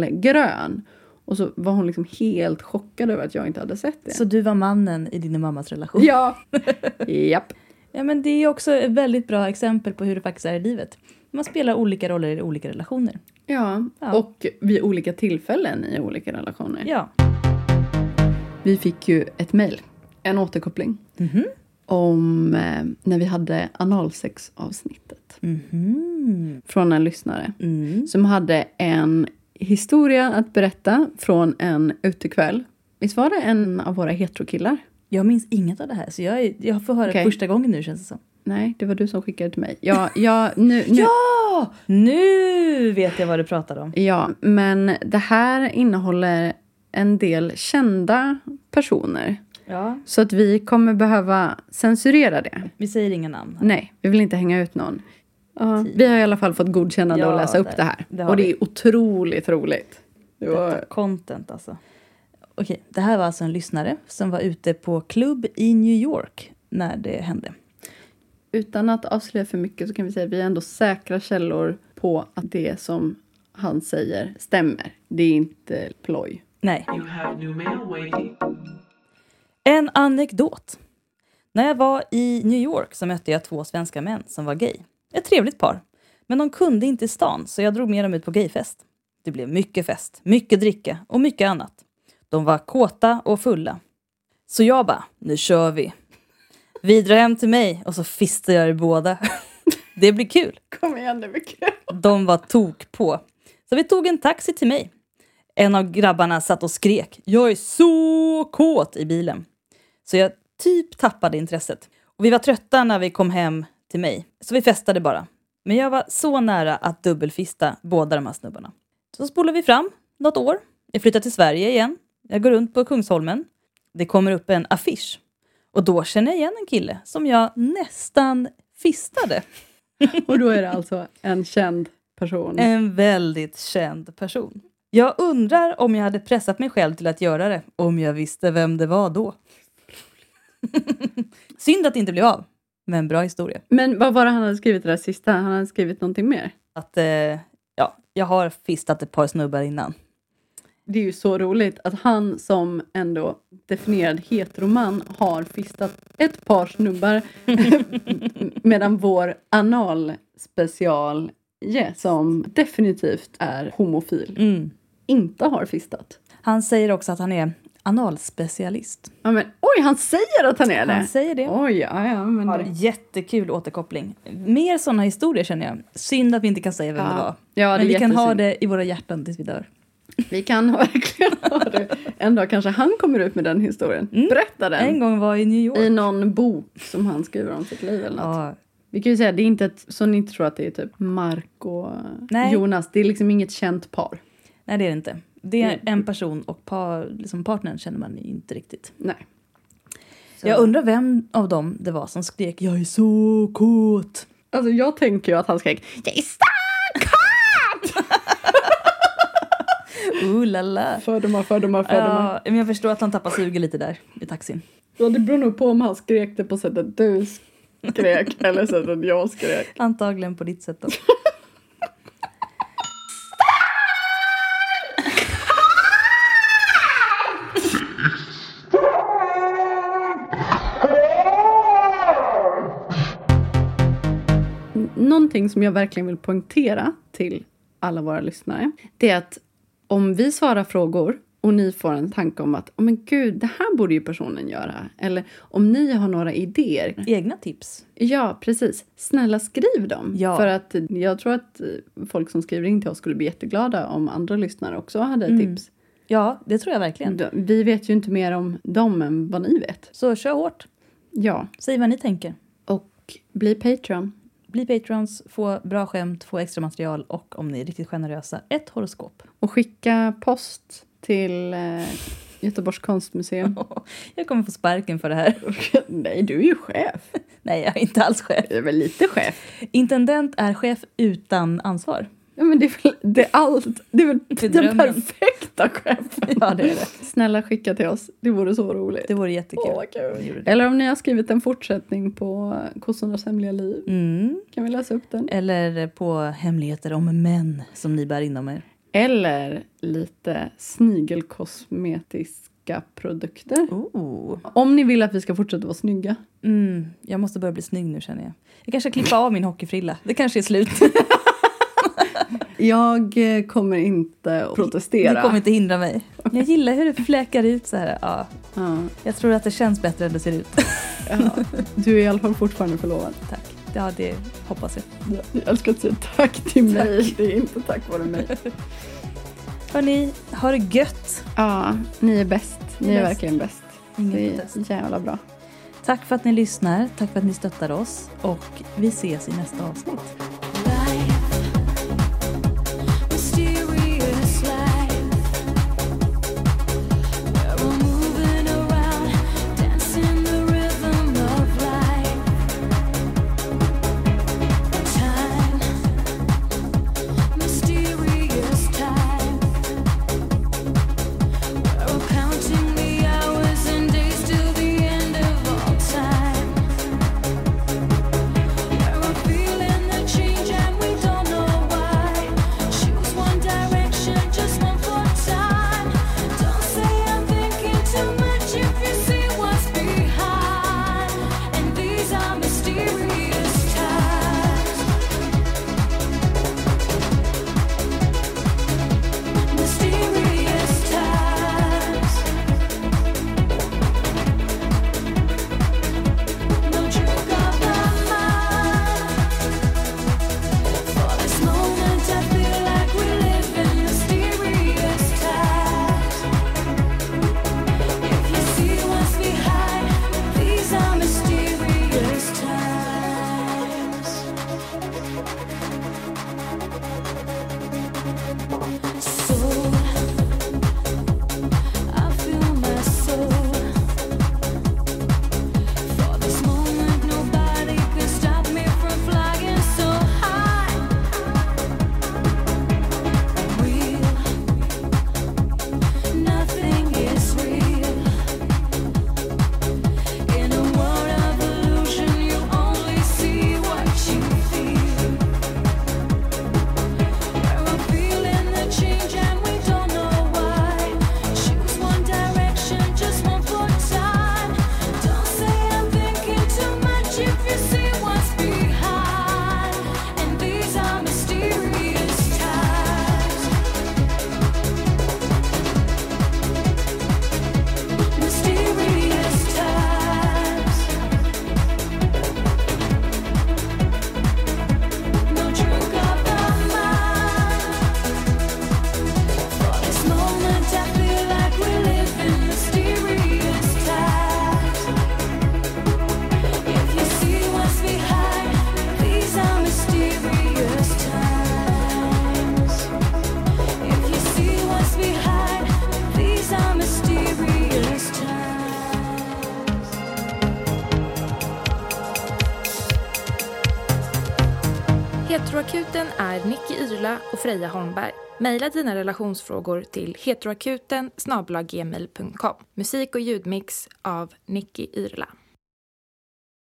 knallgrön. Och så var hon liksom helt chockad över att jag inte hade sett det. Så du var mannen i din och mammas relation? Ja. (laughs) Japp. Ja, men det är också ett väldigt bra exempel på hur det faktiskt är i livet. Man spelar olika roller i olika relationer. Ja, Ja. och vid olika tillfällen i olika relationer. Ja. Vi fick ju ett mejl, en återkoppling, Mhm. om eh, när vi hade analsexavsnittet. Mhm. Från en lyssnare Mm. som hade en historia att berätta från en utekväll. Visst var det en av våra heterokillar? Jag minns inget av det här, så jag, är, jag får höra Okej. första gången nu känns det som. Nej, det var du som skickade till mig. Ja, ja, (laughs) nu, nu. Ja! Nu vet jag vad du pratar om. Ja, men det här innehåller en del kända personer. Ja. Så att vi kommer behöva censurera det. Vi säger inga namn. här. Nej, vi vill inte hänga ut någon. Ja, vi har i alla fall fått godkännande Ja, att läsa upp det- det här. det har och det vi. är otroligt roligt. Det Detta var, content alltså. Okej, det här var alltså en lyssnare som var ute på klubb i New York när det hände. utan att avslöja för mycket så kan vi säga att vi är ändå säkra källor på att det som han säger stämmer. Det är inte (laughs) ploj. Nej. You have new mail waiting. En anekdot. När jag var i New York så mötte jag två svenska män som var gay. Ett trevligt par. Men de kunde inte i stan så jag drog med dem ut på gayfest. Det blev mycket fest, mycket dricka och mycket annat. De var kåta och fulla. Så jag bara, nu kör vi. Vi drar hem till mig och så fistar jag er båda. (laughs) Det blir kul. Kom igen nu, mycket. De var tok på. Så vi tog en taxi till mig. En av grabbarna satt och skrek “Jag är så kåt” i bilen. Så jag typ tappade intresset. Och vi var trötta när vi kom hem till mig, så vi festade bara. Men jag var så nära att dubbelfista båda de här snubbarna. Så spolar vi fram något år. Jag flyttar till Sverige igen. Jag går runt på Kungsholmen. Det kommer upp en affisch. Och då känner jag igen en kille som jag nästan fistade. Och då är det alltså en känd person. En väldigt känd person. Jag undrar om jag hade pressat mig själv till att göra det, om jag visste vem det var då. (laughs) Synd att det inte blev av, men bra historia. Men vad var det han hade skrivit det där sista? Han hade skrivit någonting mer? Att, eh, ja, jag har fistat ett par snubbar innan. Det är ju så roligt att han som ändå definierad heteroman har fistat ett par snubbar (laughs) medan vår analspecial som definitivt är homofil inte har fistat. Han säger också att han är analspecialist. Ja, men, oj, han säger att han är det! Han säger det. Oj, ja, ja, men Har jättekul återkoppling. Mer såna historier känner jag. Synd att vi inte kan säga vem Ja. det var. Ja, det men är vi kan ha jättesynd. det i våra hjärtan tills vi dör. vi kan (laughs) verkligen ha det. En dag kanske han kommer ut med den historien. Berätta den! Mm. En gång var jag i New York. I någon bok som han skriver om sitt liv eller något. Ja, Vi kan ju säga, det är inte ett, så ni inte tror att det är typ Mark och Nej. Jonas. Det är liksom inget känt par. Nej, det är det inte. Det är Mm. en person och par, liksom partnern känner man ju inte riktigt. Nej. Jag undrar vem av dem det var som skrek “Jag är så kåt”. Alltså jag tänker ju att han skrek Jag är stark! Ooh la la. fördomar, fördomar, fördomar. Ja, men jag förstår att han tappar sugen lite där i taxin. Ja. Det beror nog på om han skrek det på sättet du (laughs) skrek eller sättet jag skrek. Antagligen på ditt (laughs) sätt då. N- Någonting som jag verkligen vill poängtera till alla våra lyssnare. Det är att om vi svarar frågor och ni får en tanke om att oh, men gud, det här borde ju personen göra. Eller om ni har några idéer. Egna tips. Ja, precis. Snälla skriv dem. Ja. För att jag tror att eh, folk som skriver in till oss skulle bli jätteglada om andra lyssnare också hade Mm. tips. Ja, det tror jag verkligen. De- Vi vet ju inte mer om dem än vad ni vet. Så kör hårt. Ja, Säg vad ni tänker. och bli Patreon. Bli patrons, få bra skämt, få extra material och om ni är riktigt generösa, ett horoskop. (laughs) Och skicka post till eh, Göteborgs (laughs) konstmuseum. Jag kommer få sparken för det här. (laughs) Nej, du är ju chef. Nej, jag är inte alls chef. Jag är väl lite chef. Intendent är chef utan ansvar. Ja, men det är väl, det är allt, det är väl Det är den drömmen. perfekta chefen. Ja, det är det. Snälla skicka till oss, det vore så roligt. Det vore jättekul. Åh, vad kul. om ni gjorde det. Eller om ni har skrivit en fortsättning på Kossornas hemliga liv. Mm. Kan vi läsa upp den? Eller på hemligheter om män som ni bär inom er. Eller lite snigelkosmetiska produkter. Oh. Om ni vill att vi ska fortsätta vara snygga. Mm. Jag måste börja bli snygg nu känner jag. Jag kanske klipper av min hockeyfrilla. Det kanske är slut. Jag eh, kommer inte att protestera. Det kommer inte hindra mig. Jag gillar hur det fläkar ut så här. Ja, ja, jag tror att det känns bättre än det ser ut. (laughs) ja. (laughs) Du är i alla fall fortfarande förlovad. Tack. Ja, det hoppas jag. Jag älskar att säga tack till mig. Det är inte tack vare mig. Hörni, ha det gött. Ja, ni är bäst. Ni är Bäst. verkligen bäst. Ingen Det protest. är jävla bra. Tack för att ni lyssnar. Tack för att ni stöttar oss. Och vi ses i nästa avsnitt. Counting the hours and days till the end of all time. We're feeling the change and we don't know why. Choose one direction, just one more time. Don't say I'm thinking too much if you see what's behind. And these are mysterious times. Mysterious times. No trick of the mind. For this moment, I feel like we live in mysterious times. If you see what's behind, these are mysterious times. So I feel my soul. For this moment, nobody could stop me from flying so high. Real, nothing is real. In a world of illusion, you only see what you feel. We're feeling the change and we don't know why. Choose one direction, just one more time. Don't say I'm thinking too much if you see what's behind. And these are mysterious times. Mysterious times. No trick of the mind. For this moment, I feel like we live in mysterious times. If you see what's behind, these are mysterious times. If you see what's behind, these are mysterious times. Heteroakuten är Nicky Irla och Freja Holmberg. Maila dina relationsfrågor till heteroakuten snabel-a gmail punkt com. Musik och ljudmix av Nicky Irla.